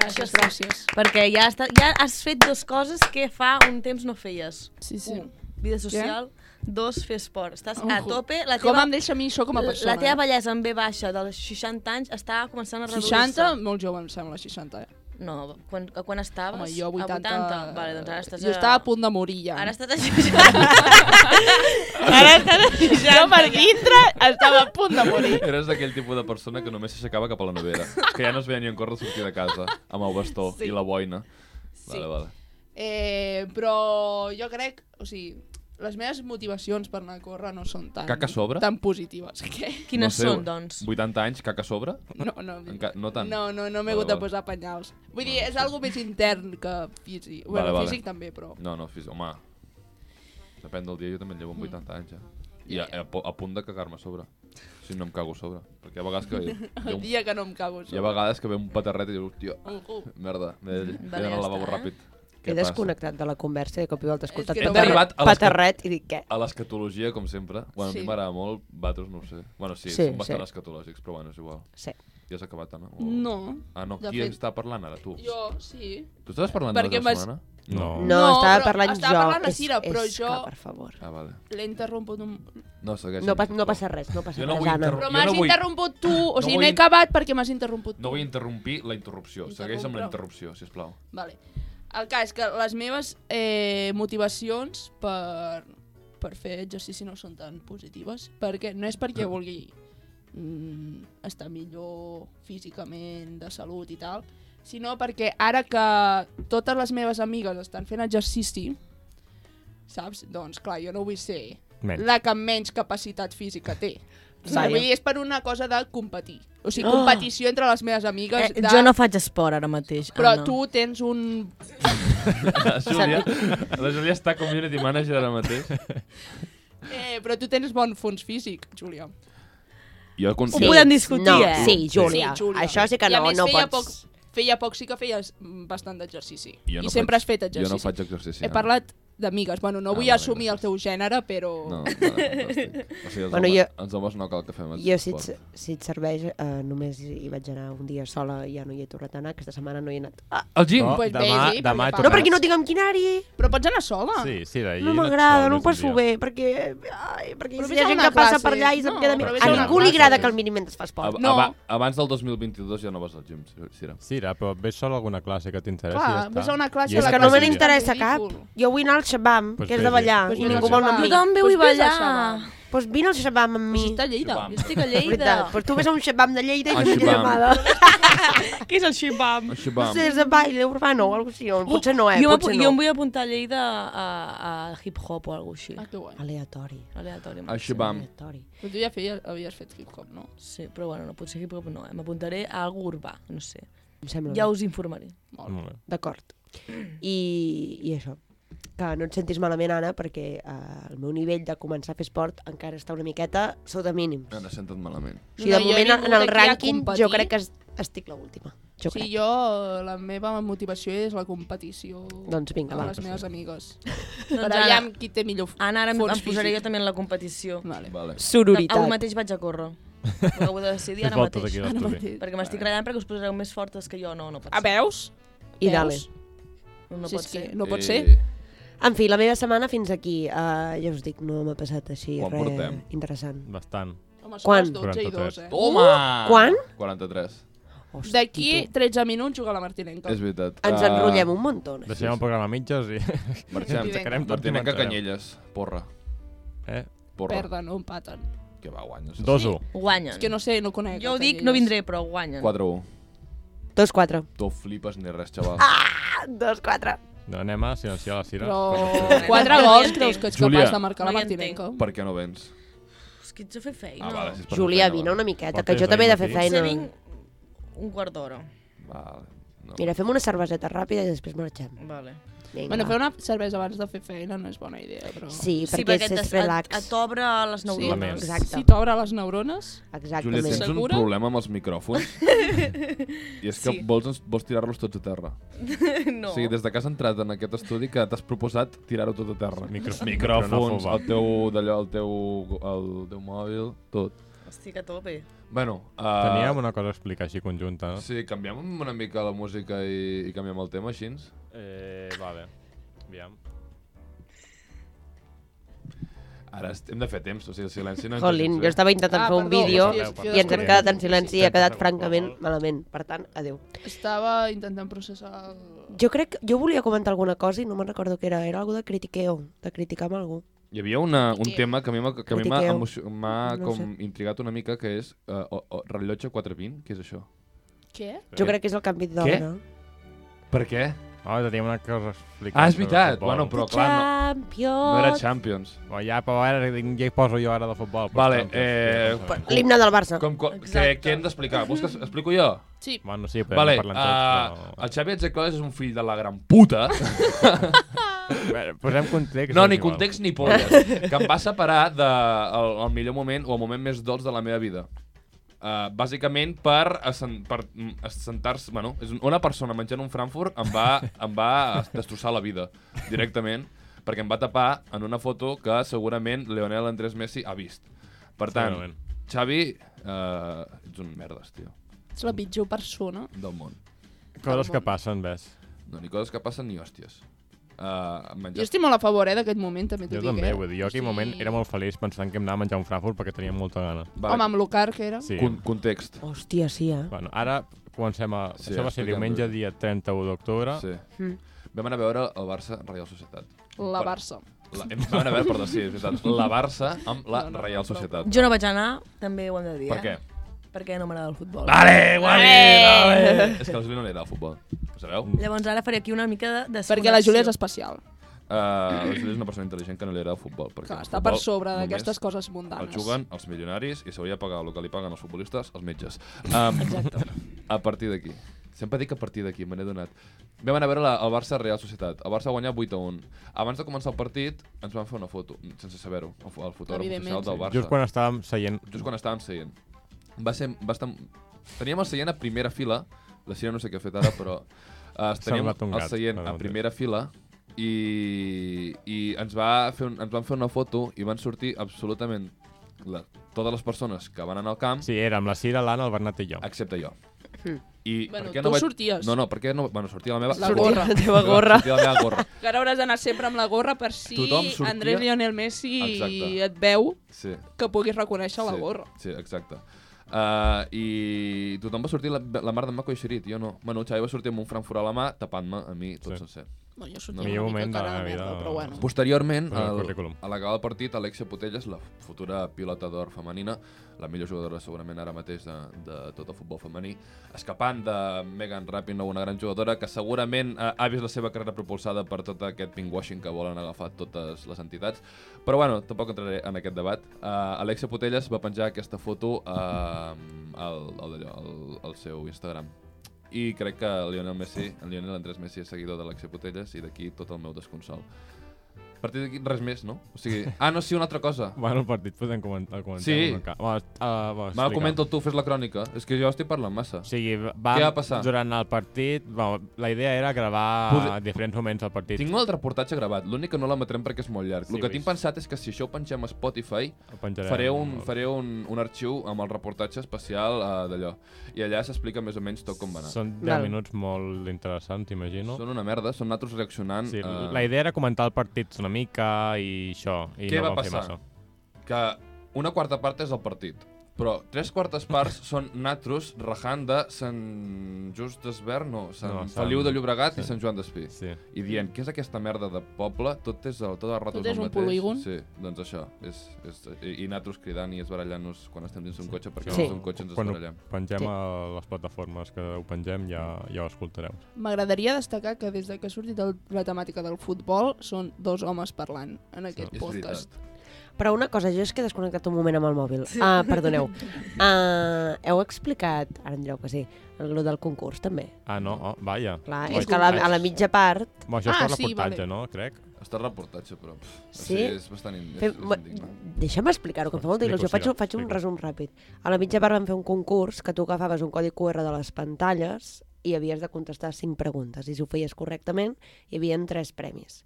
Speaker 6: Gràcies, gràcies.
Speaker 3: Perquè ja, està, ja has fet dues coses que fa un temps no feies.
Speaker 6: Sí, sí.
Speaker 3: Un, vida social. Dos, fer esport. Estàs a
Speaker 6: Ojo.
Speaker 3: tope. La
Speaker 6: Com
Speaker 3: teva,
Speaker 6: em deixa a mi això com a persona?
Speaker 3: la teva bellesa en B baixa dels 60 anys està començant a reduir-se.
Speaker 6: 60? Molt jove, em sembla, 60. Eh?
Speaker 3: No, quan, a quan estaves?
Speaker 6: Home, jo 80.
Speaker 3: A 80. Vale, doncs ara estàs
Speaker 6: Jo
Speaker 3: a...
Speaker 6: estava a punt de morir, ja.
Speaker 3: Ara estàs a 60. ara estàs a 60.
Speaker 6: Jo per dintre estava a punt de morir.
Speaker 1: Eres d'aquell tipus de persona que només s'aixecava cap a la nevera, que ja no es veia ni en córrer sortir de casa, amb el bastó
Speaker 6: Sí.
Speaker 1: i la boina.
Speaker 6: Sí.
Speaker 1: Vale, vale.
Speaker 6: Eh, però jo crec, o sigui, les meves motivacions per anar a córrer no són tan,
Speaker 1: Caca a sobre?
Speaker 6: tan positives. Què?
Speaker 3: Quines
Speaker 1: sé,
Speaker 3: són, doncs?
Speaker 1: 80 anys, caca a sobre?
Speaker 6: No, no,
Speaker 1: Enca no tant.
Speaker 6: no, no, no
Speaker 1: Vale,
Speaker 6: m'he hagut de
Speaker 1: vale.
Speaker 6: posar penyals. Vull dir, és algo més intern que físic. Bueno,
Speaker 1: Vale, vale.
Speaker 6: físic també, però...
Speaker 1: No, no, fes, home. Depèn del dia, jo també em
Speaker 3: Mm.
Speaker 1: llevo amb 80 anys, ja. I a, a, po- a punt de cagar-me a sobre. Si no em cago a sobre. Perquè hi ha vegades que... Hi ha,
Speaker 6: El
Speaker 1: un,
Speaker 6: dia que no em cago.
Speaker 1: hi ha vegades que ve un paterret i dius, hòstia,
Speaker 6: Ojo.
Speaker 1: merda, m'he de- m'he
Speaker 3: Vale,
Speaker 1: d'anar
Speaker 3: ja
Speaker 1: al lavabo
Speaker 3: està, eh?
Speaker 1: ràpid.
Speaker 2: He desconnectat de la conversa i de cop i volta he escoltat
Speaker 6: que
Speaker 2: tot
Speaker 1: també-
Speaker 2: el
Speaker 1: Arribat a les-
Speaker 2: paterret i dic què?
Speaker 1: A l'escatologia, com sempre. Bueno, sí. a
Speaker 6: Sí.
Speaker 1: mi m'agrada molt, Batros no ho sé. Bueno, sí,
Speaker 2: Sí,
Speaker 1: sí són bastant
Speaker 2: sí.
Speaker 1: sí. escatològics, però bueno, és igual.
Speaker 2: Sí.
Speaker 1: Ja has acabat, Anna? O...
Speaker 6: No.
Speaker 1: Ah, no,
Speaker 6: De
Speaker 1: qui
Speaker 6: fet-
Speaker 1: està parlant ara, tu?
Speaker 6: Jo, sí.
Speaker 1: Tu estaves parlant
Speaker 6: Perquè
Speaker 1: de la
Speaker 6: m'has-
Speaker 1: setmana?
Speaker 4: No.
Speaker 2: No, estava
Speaker 6: però
Speaker 2: parlant
Speaker 6: estava
Speaker 2: jo.
Speaker 6: parlant la
Speaker 2: És-
Speaker 6: Sira, però
Speaker 2: és
Speaker 6: jo-
Speaker 2: Que, per favor.
Speaker 1: Ah, vale.
Speaker 6: L'he interromput un...
Speaker 1: No, segueix.
Speaker 2: No,
Speaker 1: Anna,
Speaker 2: pas, no
Speaker 1: sisplau.
Speaker 2: passa res, no passa
Speaker 1: Jo no vull
Speaker 2: res, Anna.
Speaker 1: interrompre-
Speaker 6: Però
Speaker 1: Jo
Speaker 6: m'has
Speaker 1: no vull-
Speaker 6: interromput tu,
Speaker 1: No
Speaker 6: o sigui, no,
Speaker 1: vull-
Speaker 6: he acabat perquè m'has interromput tu.
Speaker 1: No vull interrompir la interrupció. Segueix amb la interrupció, si plau.
Speaker 6: Vale. El cas és que les meves eh, motivacions per, per fer exercici no són tan positives, perquè no és
Speaker 1: Eh.
Speaker 6: perquè vulgui mm, estar millor físicament, de salut i tal, sinó perquè ara que totes les meves amigues estan fent exercici, saps? Doncs clar, jo no vull ser
Speaker 4: Menys.
Speaker 6: la que menys capacitat física té.
Speaker 2: Vaja.
Speaker 6: Vull dir, és per una cosa de competir. O
Speaker 2: Ah.
Speaker 6: sigui, competició entre les meves amigues.
Speaker 3: Eh,
Speaker 6: de...
Speaker 3: jo no faig esport ara mateix,
Speaker 6: Però
Speaker 3: Anna.
Speaker 6: tu tens un
Speaker 1: Júlia, la Júlia està community manager ara mateix.
Speaker 6: Eh, però tu tens bon fons físic, Júlia.
Speaker 1: Jo
Speaker 3: Ho
Speaker 1: considero...
Speaker 3: podem discutir,
Speaker 2: no,
Speaker 3: eh?
Speaker 2: Sí, Júlia.
Speaker 6: Sí, Júlia.
Speaker 2: Això sí que
Speaker 6: I a
Speaker 2: no,
Speaker 6: més,
Speaker 2: no
Speaker 6: feia
Speaker 2: pots...
Speaker 6: Poc, feia poc sí que feies mm, bastant d'exercici.
Speaker 1: Jo no
Speaker 6: I sempre
Speaker 1: faig-
Speaker 6: has fet
Speaker 1: Jo
Speaker 6: exercici.
Speaker 1: no faig exercici.
Speaker 6: He
Speaker 1: Anna.
Speaker 6: parlat d'amigues. Bueno, no
Speaker 1: Ah,
Speaker 6: vull
Speaker 1: vale,
Speaker 6: assumir el
Speaker 1: gràcies.
Speaker 6: teu gènere, però...
Speaker 1: No, no, fantàstic. O sigui, els,
Speaker 2: Bueno,
Speaker 1: bueno, homes,
Speaker 2: jo-
Speaker 1: els homes no cal que fem
Speaker 2: Jo, si
Speaker 1: esport.
Speaker 2: et, si et serveix, eh, només hi vaig anar un dia sola i ja no hi he tornat a anar. Aquesta setmana no hi he anat. Ah,
Speaker 1: El gym!
Speaker 4: No,
Speaker 6: Pues
Speaker 4: demà,
Speaker 6: vés-hi, perquè
Speaker 4: demà et
Speaker 6: Ah,
Speaker 2: no,
Speaker 4: tocarà.
Speaker 2: perquè no tinc amb quinari.
Speaker 6: Però pots anar sola.
Speaker 4: Sí, sí, d'ahir.
Speaker 2: No
Speaker 4: et
Speaker 2: m'agrada,
Speaker 4: sobres
Speaker 2: no
Speaker 4: un
Speaker 2: ho passo
Speaker 4: dia.
Speaker 2: bé, perquè, ai, perquè
Speaker 6: Però vés
Speaker 2: hi
Speaker 6: a
Speaker 2: ha gent
Speaker 6: una
Speaker 2: que passa
Speaker 6: classe.
Speaker 2: per allà i se'm
Speaker 6: No,
Speaker 2: queda...
Speaker 6: però
Speaker 2: mirant.
Speaker 6: vés a
Speaker 2: A
Speaker 6: una
Speaker 2: ningú li
Speaker 6: classe.
Speaker 2: agrada que el miri mentre fa esport.
Speaker 1: Ab
Speaker 6: No.
Speaker 1: aba- Abans del 2022 ja no vas al gym, Sira.
Speaker 4: Sira, però ves sol a alguna classe que t'interessa i
Speaker 6: Clar,
Speaker 4: ja està.
Speaker 6: vés a una clase
Speaker 4: I
Speaker 6: a
Speaker 2: És
Speaker 6: la
Speaker 2: que
Speaker 4: és
Speaker 2: no
Speaker 4: el
Speaker 2: me
Speaker 6: classe
Speaker 4: que dic.
Speaker 2: n'interessa cap.
Speaker 6: Ridícul.
Speaker 2: Jo vull anar al xabam,
Speaker 4: Pues
Speaker 2: que és de
Speaker 4: vés-hi.
Speaker 2: ballar,
Speaker 4: Pues
Speaker 2: i
Speaker 4: vés-hi.
Speaker 2: ningú vol anar amb
Speaker 3: Tu
Speaker 2: mi.
Speaker 3: també vull
Speaker 6: Doncs vés a
Speaker 3: ballar.
Speaker 6: xaval.
Speaker 2: Doncs vine al xabam amb mi.
Speaker 6: Si està a Lleida.
Speaker 1: Xupam.
Speaker 3: Jo estic a
Speaker 2: És veritat.
Speaker 3: Lleida.
Speaker 2: Pues tu vés a un xabam de Lleida i
Speaker 1: Ah,
Speaker 2: fes una
Speaker 1: xabam.
Speaker 2: llamada.
Speaker 3: Què és el xipam?
Speaker 1: Així
Speaker 2: No
Speaker 1: va.
Speaker 2: sé, és de baile urbano o alguna cosa així. o Potser no, eh?
Speaker 3: Oh, jo,
Speaker 2: Potser
Speaker 3: jo em
Speaker 2: no.
Speaker 3: vull apuntar a Lleida a, a, a hip-hop o alguna cosa
Speaker 6: Ah,
Speaker 3: així.
Speaker 6: que guai.
Speaker 2: Aleatori.
Speaker 6: Ah.
Speaker 3: Aleatori.
Speaker 1: Així va.
Speaker 2: Aleatori.
Speaker 6: Però tu ja feies, havies fet hip-hop, no?
Speaker 3: Sí, però bueno, no, potser hip-hop no, eh? M'apuntaré a algú urbà, no sé.
Speaker 2: Em sembla
Speaker 3: Ja
Speaker 2: bé.
Speaker 3: us informaré.
Speaker 6: Molt.
Speaker 4: Molt bé.
Speaker 2: D'acord. I, I això, que no et sentis malament, Anna, perquè eh, el meu nivell de començar a fer esport encara està una miqueta sota mínims.
Speaker 1: Ara senta't malament.
Speaker 2: O sigui, de
Speaker 6: No, jo he
Speaker 2: moment, en
Speaker 6: vingut
Speaker 2: el
Speaker 6: aquí a
Speaker 2: rànquing, jo
Speaker 6: competir.
Speaker 2: crec que es- estic l'última. Jo
Speaker 6: Sí,
Speaker 2: crec.
Speaker 6: jo, la meva motivació és la competició
Speaker 2: Doncs vinga,
Speaker 6: amb
Speaker 2: va.
Speaker 6: les meves amigues.
Speaker 3: Doncs
Speaker 6: Per
Speaker 3: ara-
Speaker 6: aviam qui té millor
Speaker 3: Anna, ara em,
Speaker 6: fons
Speaker 3: em posaré jo
Speaker 6: físic.
Speaker 3: també en la competició.
Speaker 6: Vale.
Speaker 1: Vale.
Speaker 2: Sororitat.
Speaker 3: Avui mateix vaig a córrer. Ho acabo de decidir
Speaker 4: Fes
Speaker 3: ara
Speaker 4: voltes aquí
Speaker 3: mateix.
Speaker 4: a l'estudi.
Speaker 3: Perquè m'estic agradant perquè us posareu més fortes que jo. No, no pot
Speaker 6: A Ah,
Speaker 3: ser.
Speaker 6: veus?
Speaker 2: I
Speaker 6: Veus?
Speaker 2: dale.
Speaker 3: No
Speaker 6: si
Speaker 3: pot
Speaker 6: és que
Speaker 3: ser.
Speaker 6: no pot
Speaker 1: Eh,
Speaker 6: ser.
Speaker 2: En fi, la meva setmana fins aquí. Uh, ja us dic, no m'ha passat així
Speaker 1: Quan
Speaker 2: res
Speaker 1: portem?
Speaker 2: interessant.
Speaker 4: Bastant.
Speaker 6: Home, són
Speaker 2: Quan?
Speaker 6: les 12 i 2, eh?
Speaker 1: Toma!
Speaker 2: Quan?
Speaker 1: 43.
Speaker 2: Hosti,
Speaker 6: D'aquí
Speaker 2: tu.
Speaker 6: 13 minuts juga la Martinenca.
Speaker 1: És veritat.
Speaker 2: Ens
Speaker 1: Ah,
Speaker 2: enrotllem un muntó. eh?
Speaker 4: Deixem el programa a mitges i...
Speaker 1: Marxem.
Speaker 4: Ens aixecarem tot i
Speaker 1: Martinenca
Speaker 4: marxarem.
Speaker 1: Canyelles. Porra.
Speaker 4: Eh?
Speaker 1: Porra.
Speaker 6: Perden o empaten.
Speaker 1: Que va, guanyes.
Speaker 4: 2-1.
Speaker 3: Guanyen.
Speaker 6: És que no sé, no conec.
Speaker 3: Jo ho
Speaker 6: el
Speaker 3: dic,
Speaker 6: Canyelles.
Speaker 3: no vindré, però guanyen.
Speaker 1: 4-1.
Speaker 2: Dos, quatre.
Speaker 1: Tu flipes ni res, xaval.
Speaker 2: Dos, quatre.
Speaker 4: No, anem a silenciar la Sira.
Speaker 6: Però
Speaker 3: No.
Speaker 6: 4
Speaker 3: No hi
Speaker 6: gols
Speaker 3: entenc.
Speaker 6: creus que ets
Speaker 1: Júlia.
Speaker 6: capaç de marcar la
Speaker 3: No hi entenc.
Speaker 6: Martinenca?
Speaker 1: Per què no vens?
Speaker 3: És que ets a fer feina.
Speaker 1: Ah, vale, si és per
Speaker 2: Júlia,
Speaker 1: feina,
Speaker 2: vine
Speaker 1: vale.
Speaker 2: una miqueta,
Speaker 4: Portes
Speaker 2: que jo
Speaker 4: ahir
Speaker 2: també he de fer
Speaker 4: matí.
Speaker 3: Potser
Speaker 2: feina.
Speaker 3: vinc un quart d'hora.
Speaker 1: Vale. No.
Speaker 2: Mira, fem una cerveseta ràpida i després marxem.
Speaker 3: Vale.
Speaker 2: Vinga,
Speaker 6: Bueno,
Speaker 2: va.
Speaker 6: fer una cervesa abans de fer feina no és bona idea, però...
Speaker 2: Sí,
Speaker 3: Sí,
Speaker 2: perquè,
Speaker 3: perquè
Speaker 2: sí, és
Speaker 3: et, des- et,
Speaker 2: relax.
Speaker 3: et t'obre les
Speaker 4: La
Speaker 3: neurones.
Speaker 4: ment.
Speaker 2: Exacte.
Speaker 6: Si t'obre les neurones...
Speaker 1: Júlia,
Speaker 2: Exactament.
Speaker 1: tens un
Speaker 6: Segura?
Speaker 1: problema amb els micròfons i és que
Speaker 3: Sí.
Speaker 1: vols, vols tirar-los tots a terra.
Speaker 3: No.
Speaker 1: O sigui, des de que has entrat en aquest estudi que t'has proposat tirar-ho tot a terra.
Speaker 4: Micro-
Speaker 1: Micròfons,
Speaker 4: micronòfoba.
Speaker 1: el teu, d'allò, el teu, el teu mòbil, tot.
Speaker 3: Estic a tope.
Speaker 1: Bueno, uh,
Speaker 6: Ah.
Speaker 4: Teníem una cosa a explicar així conjunta, no?
Speaker 1: Sí, canviem una mica la música i, i canviem el tema així.
Speaker 4: Eh, vale. Aviam.
Speaker 1: Ara est- hem de fer temps, o sigui, el silenci no ens
Speaker 2: Jolín,
Speaker 1: ajuda.
Speaker 2: jo estava intentant
Speaker 6: Ah,
Speaker 2: fer un
Speaker 6: perdó,
Speaker 2: vídeo
Speaker 6: sí,
Speaker 2: i
Speaker 6: sí,
Speaker 2: ens hem
Speaker 6: sí,
Speaker 2: quedat en
Speaker 4: sí,
Speaker 2: silenci
Speaker 4: sí,
Speaker 2: i ha quedat
Speaker 4: sí, sí,
Speaker 2: francament
Speaker 4: sí.
Speaker 2: malament. Per tant, adeu.
Speaker 6: Estava intentant processar... el-
Speaker 2: Jo crec que jo volia comentar alguna cosa i no me'n recordo què era. Era algo de critiqueo, de criticar amb algú.
Speaker 1: Hi havia una, un tema que a mi m'ha- que a mi m'ha
Speaker 2: Critiqueu.
Speaker 1: emotio- m'ha
Speaker 2: No ho
Speaker 1: com intrigat una mica, que és uh, o, o, rellotge 420, què és això?
Speaker 6: Què?
Speaker 1: Eh?
Speaker 2: Jo crec que és el canvi d'hora.
Speaker 1: Per què?
Speaker 4: Ah, teníem una cosa a explicar.
Speaker 1: Ah, és
Speaker 4: sobre
Speaker 1: veritat!
Speaker 4: futbol.
Speaker 1: Bueno, però clar, no,
Speaker 2: Champions!
Speaker 1: no era Champions.
Speaker 4: Bueno, ja, però ara ja hi poso jo ara de futbol. però
Speaker 1: Vale,
Speaker 4: estan-
Speaker 1: eh,
Speaker 4: estan- estan-
Speaker 2: L'himne del Barça.
Speaker 1: Com, com, què,
Speaker 3: Exacte.
Speaker 1: què hem d'explicar? Vols que es- explico jo?
Speaker 6: Sí,
Speaker 4: Bueno, sí, podem
Speaker 1: Vale,
Speaker 4: vale, parlar tots,
Speaker 1: uh, el Xavi Exaclés és un fill de la gran puta.
Speaker 4: però... Bé, Posem context.
Speaker 1: No,
Speaker 4: és
Speaker 1: ni
Speaker 4: igual.
Speaker 1: context ni polles. Que em va separar del de, el, el millor moment o el moment més dolç de la meva vida. Uh, bàsicament per, assen- per mm, assentar-se... Bueno, és un- una persona menjant un Frankfurt em va, em va destrossar la vida directament perquè em va tapar en una foto que segurament Leonel Andrés Messi ha vist. Per tant,
Speaker 4: Segurament.
Speaker 1: Xavi, uh, ets un merdes, tio,
Speaker 6: ets la pitjor persona.
Speaker 1: del món.
Speaker 4: Coses que passen, ves.
Speaker 1: No, ni coses que passen ni hòsties. Uh,
Speaker 6: Jo
Speaker 1: menjar...
Speaker 6: estic molt a favor, eh, d'aquest moment, també t'ho
Speaker 4: Jo
Speaker 6: dic,
Speaker 4: també,
Speaker 6: eh?
Speaker 4: vull dir, jo aquell moment era molt feliç pensant que em anava a menjar un Frankfurt perquè tenia molta gana.
Speaker 1: Vale.
Speaker 6: Home, amb lo car que era.
Speaker 4: Sí.
Speaker 1: Con context.
Speaker 2: Hòstia, sí, eh?
Speaker 4: Bueno, ara comencem a...
Speaker 1: Sí,
Speaker 4: Sí, això va
Speaker 1: explica'm.
Speaker 4: ser diumenge, dia 31 d'octubre.
Speaker 1: Sí. Vam anar a veure el Barça Real Societat.
Speaker 6: Hmm. La
Speaker 1: Per-
Speaker 6: Barça.
Speaker 1: La, hem- vam anar a veure, perdó, sí, és veritat. La Barça amb la Real Societat.
Speaker 3: Jo no vaig anar, també ho hem de dir.
Speaker 1: Per què?
Speaker 3: Eh? Perquè no m'agrada el futbol.
Speaker 1: Vale, guai, vale. És que la Júlia no li agrada el futbol, ho sabeu?
Speaker 6: Mm.
Speaker 1: Uh,
Speaker 3: Llavors ara faré aquí una mica de... de
Speaker 6: Perquè la Júlia és
Speaker 3: segregació.
Speaker 6: especial.
Speaker 1: la Júlia és una persona intel·ligent que no li agrada el futbol. Perquè
Speaker 6: Clar,
Speaker 1: el
Speaker 6: està per
Speaker 1: futbol
Speaker 6: sobre
Speaker 1: només
Speaker 6: d'aquestes coses
Speaker 1: El
Speaker 6: mundanes.
Speaker 1: juguen els milionaris i s'hauria de pagar el que li paguen els futbolistes, els metges. Um,
Speaker 3: Exacte.
Speaker 1: a partir d'aquí. Sempre dic a partir d'aquí, me n'he donat. Vam anar a veure la, el Barça Real Societat. El Barça guanyar 8 a 1. Abans de començar el partit, ens van fer una foto, mm, sense saber-ho, el, fo- el fotògraf
Speaker 6: Evidentment.
Speaker 1: oficial del Barça.
Speaker 4: Just quan estàvem seient...
Speaker 1: just quan estàvem seient. Va ser, va estar... Teníem el seient a primera fila, la Sira no sé què ha fet ara, però... Uh, teníem
Speaker 4: semblat un
Speaker 1: el
Speaker 4: gat,
Speaker 1: seient
Speaker 4: ara
Speaker 1: a
Speaker 4: mateix.
Speaker 1: primera fila i, i ens, va fer un, ens van fer una foto i van sortir absolutament la, totes les persones que van anar al camp,
Speaker 4: Sí, era amb la Cira, l'Anna, el Bernat i jo.
Speaker 1: excepte jo. I
Speaker 6: Bueno,
Speaker 1: per què
Speaker 6: tu
Speaker 1: no vaig...
Speaker 6: sorties.
Speaker 1: No, no, per què no... Bueno, sortia la meva...
Speaker 6: La
Speaker 1: sortia-
Speaker 6: gorra.
Speaker 2: La teva gorra.
Speaker 1: Sortia la meva gorra.
Speaker 6: Que ara hauràs d'anar sempre amb la gorra per si
Speaker 1: Tothom sortia-
Speaker 6: Andrés Lionel Messi
Speaker 1: Exacte.
Speaker 6: et veu
Speaker 1: Sí.
Speaker 6: que puguis reconèixer la gorra.
Speaker 1: Sí, exacte. Uh, I tothom va sortir la, la mar de Mako i Xerit, jo no. Bueno, el Xavi va sortir amb un Frankfurt a la mà, tapant-me a mi tot sí.
Speaker 4: Sí.
Speaker 1: sencer.
Speaker 6: No, jo
Speaker 1: No. tota
Speaker 6: sortia
Speaker 1: Millor
Speaker 6: una mica
Speaker 4: moment de
Speaker 6: cara
Speaker 4: la
Speaker 6: merda,
Speaker 4: vida.
Speaker 6: però bueno.
Speaker 1: Posteriorment,
Speaker 4: Però el
Speaker 1: al,
Speaker 4: currículum.
Speaker 1: a l'acabar el partit, Alexia Putellas, la futura pilota d'or femenina, la millor jugadora segurament ara mateix de, de tot el futbol femení, escapant de Megan Rapinoe, una gran jugadora que segurament eh, ha vist la seva carrera propulsada per tot aquest pinkwashing que volen agafar totes les entitats. Però bueno, tampoc entraré en aquest debat. Uh, Alexia Putellas va penjar aquesta foto eh, al, al, al, al seu Instagram. I crec que Lionel Messi, en Lionel Andrés Messi és seguidor d'Alexia Putellas i d'aquí tot el meu desconsol. A partir d'aquí res més, no? O sigui, ah, no, sí, una altra cosa.
Speaker 4: Bueno, el partit podem comentar. comentar
Speaker 1: Sí.
Speaker 4: Va, va, va,
Speaker 1: Me la
Speaker 4: eh, explica.
Speaker 1: comenta tu, fes la crònica. És que jo estic parlant massa.
Speaker 4: O sigui, va,
Speaker 1: Què va passar?
Speaker 4: durant el partit, va, la idea era gravar
Speaker 1: Poder-
Speaker 4: Poder... diferents moments del partit.
Speaker 1: Tinc el reportatge gravat, l'únic que no l'emetrem perquè és molt llarg.
Speaker 4: Sí,
Speaker 1: el que
Speaker 4: ho he
Speaker 1: tinc
Speaker 4: vist.
Speaker 1: pensat és que si això ho pengem a Spotify,
Speaker 4: El penjarem.
Speaker 1: faré un, faré un, un arxiu amb el reportatge especial uh, d'allò. I allà s'explica més o menys tot com va anar. Són,
Speaker 4: Són 10
Speaker 2: Val.
Speaker 4: minuts molt interessants, imagino.
Speaker 1: són una merda, són nosaltres reaccionant.
Speaker 4: Sí,
Speaker 1: eh,
Speaker 4: La idea era comentar el partit una mica i això. I
Speaker 1: Què
Speaker 4: no
Speaker 1: va
Speaker 4: van fer
Speaker 1: passar?
Speaker 4: massa.
Speaker 1: que una quarta part és el partit, però tres quartes parts són natros, rajant de Sant Just d'Esvern, no, Sant
Speaker 4: No,
Speaker 1: no,
Speaker 4: Sant-
Speaker 1: Feliu de Llobregat i Sant Joan d'Espí.
Speaker 4: Sí.
Speaker 1: i dient què és aquesta merda de poble, tot és el, tot el rato
Speaker 6: Tot
Speaker 1: el
Speaker 6: és un
Speaker 1: mateix.
Speaker 6: polígon.
Speaker 1: Sí, doncs això. És, és, i, I nosaltres cridant i esbarallant-nos quan estem dins d'un cotxe, perquè
Speaker 2: Sí.
Speaker 1: sí. dins d'un cotxe ens
Speaker 4: Quan ho
Speaker 1: esbarallem.
Speaker 4: pengem
Speaker 2: Sí.
Speaker 4: a les plataformes que ho pengem ja, ja ho escoltareu.
Speaker 6: M'agradaria destacar que des de que ha sortit el, la temàtica del futbol són dos homes parlant en aquest
Speaker 1: És
Speaker 6: podcast.
Speaker 1: veritat.
Speaker 2: Però una cosa, jo és que he desconnectat un moment amb el mòbil. Ah, perdoneu. Ah, heu explicat, ara em direu que sí, el del concurs també.
Speaker 4: Ah, no, oh, vaja.
Speaker 2: Clar,
Speaker 4: Vaig
Speaker 2: és que a la,
Speaker 4: vaig.
Speaker 2: a la mitja part
Speaker 4: Bueno, això és
Speaker 6: Ah,
Speaker 4: per
Speaker 6: sí,
Speaker 4: reportatge,
Speaker 6: vale.
Speaker 4: no? Crec.
Speaker 1: Està el reportatge, però... Pff, o
Speaker 2: Sí?
Speaker 1: sigui, és bastant... In... És,
Speaker 2: Fem,
Speaker 1: és
Speaker 2: bo-
Speaker 1: indigne.
Speaker 2: deixa'm explicar-ho, que em fa molta il·lusió. Faig,
Speaker 4: Explica,
Speaker 2: un- faig un
Speaker 4: explica.
Speaker 2: resum ràpid. A la mitja part vam fer un concurs que tu agafaves un codi QR de les pantalles i havies de contestar cinc preguntes. I si ho feies correctament, hi havia tres premis.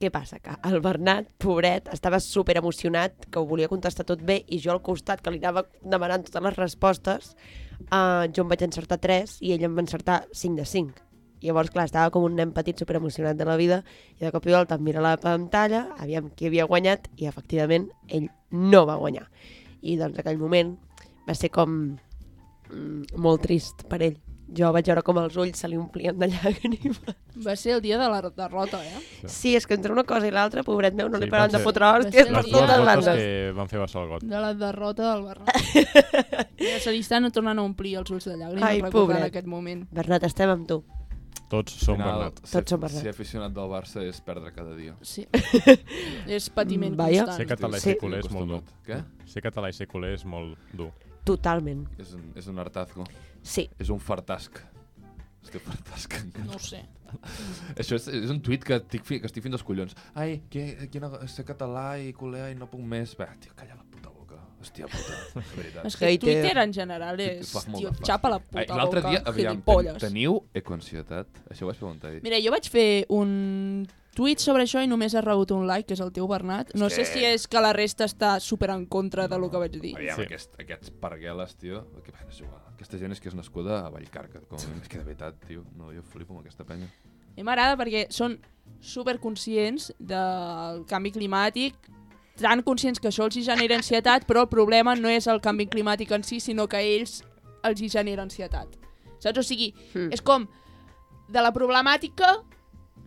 Speaker 2: Què passa? Que el Bernat, pobret, estava super emocionat, que ho volia contestar tot bé, i jo al costat, que li anava demanant totes les respostes, eh, jo em vaig encertar tres i ell em va encertar cinc de cinc. Llavors, clar, estava com un nen petit super emocionat de la vida i de cop i volta em mira la pantalla, aviam qui havia guanyat i efectivament ell no va guanyar. I doncs aquell moment va ser com mm, molt trist per ell. Jo vaig veure com els ulls se li omplien de llàgrimes.
Speaker 6: Va ser el dia de la derrota, eh?
Speaker 2: Sí, és que entre una cosa i l'altra, pobret meu, no
Speaker 4: Sí,
Speaker 2: li paraven de
Speaker 4: van ser-
Speaker 2: fotre
Speaker 6: Les
Speaker 2: hòsties per
Speaker 4: Les dues
Speaker 2: totes
Speaker 4: botes
Speaker 2: bandes.
Speaker 4: que van fer Bassalgot.
Speaker 6: De la derrota del Bernat. Mira, se li estan tornant a omplir els ulls de llàgrimes
Speaker 2: Ai,
Speaker 6: recordant
Speaker 2: pobret.
Speaker 6: aquest moment.
Speaker 2: Bernat, estem amb tu.
Speaker 4: Tots som
Speaker 1: Al final,
Speaker 4: Bernat.
Speaker 1: ser-
Speaker 2: Tots som Bernat.
Speaker 1: Ser aficionat del Barça és perdre cada dia.
Speaker 6: Sí. és patiment
Speaker 2: Vaya.
Speaker 4: Ser
Speaker 6: constant.
Speaker 4: català i
Speaker 2: Sí.
Speaker 4: ser culer és molt dur.
Speaker 1: Què?
Speaker 4: Ser català i ser culer és molt dur.
Speaker 2: Totalment.
Speaker 1: És un, és un hartazgo.
Speaker 2: Sí.
Speaker 1: És un fartasc. Estic fartasc.
Speaker 6: No ho sé.
Speaker 1: Això és, és un tuit que, estic fi, que estic fins als collons. Ai, que, quina, ser català i culer i no puc més. Va, tio, calla la puta boca. Hòstia puta, de veritat.
Speaker 6: És que
Speaker 2: Hater.
Speaker 6: Twitter en general és...
Speaker 1: Fa molt
Speaker 6: Tio,
Speaker 1: de fàstic.
Speaker 6: xapa la puta
Speaker 1: Ai, L'altre
Speaker 6: boca,
Speaker 1: dia, aviam, ten,
Speaker 6: gilipolles.
Speaker 1: teniu ecoansietat? Això ho vaig preguntar ahir.
Speaker 6: Mira, jo vaig fer un tuit sobre això i només has rebut un like, que és el teu Bernat. No
Speaker 1: És
Speaker 6: sé
Speaker 1: que-
Speaker 6: si és que la resta està super en contra de lo que vaig dir.
Speaker 1: Aviam,
Speaker 4: Sí.
Speaker 1: sí. aquest, aquests pargueles, tio, que bueno, és igual. Aquesta gent és que és nascuda a Vallcarca, com a mínim. és que de veritat, tio, no, jo flipo amb aquesta penya.
Speaker 6: A mi m'agrada perquè són superconscients del canvi climàtic, tan conscients que això els hi genera ansietat, però el problema no és el canvi climàtic en si, sinó que a ells els hi genera ansietat. Saps? O sigui,
Speaker 2: Mm.
Speaker 6: és com de la problemàtica,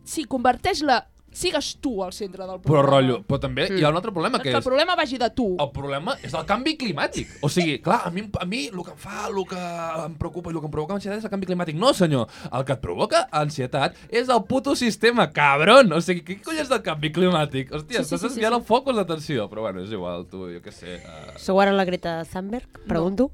Speaker 6: si converteix-la, sigues tu al centre del
Speaker 1: Però,
Speaker 6: problema.
Speaker 1: rotllo, però també hi ha un altre problema,
Speaker 6: Doncs
Speaker 1: que
Speaker 6: que el
Speaker 1: és...
Speaker 6: problema vagi de tu.
Speaker 1: El problema és el canvi climàtic. O sigui, clar, a mi, a mi el que em fa, el que em preocupa i el que em provoca ansietat és el canvi climàtic. No, senyor, el que et provoca ansietat és el puto sistema, cabron. O sigui, què collons del canvi climàtic? Hòstia, sí, estàs sí, sí, desviant sí, el focus d'atenció. Però bueno, és igual, tu, jo què sé. Uh,
Speaker 2: Sou ara la Greta Thunberg? Pregunto.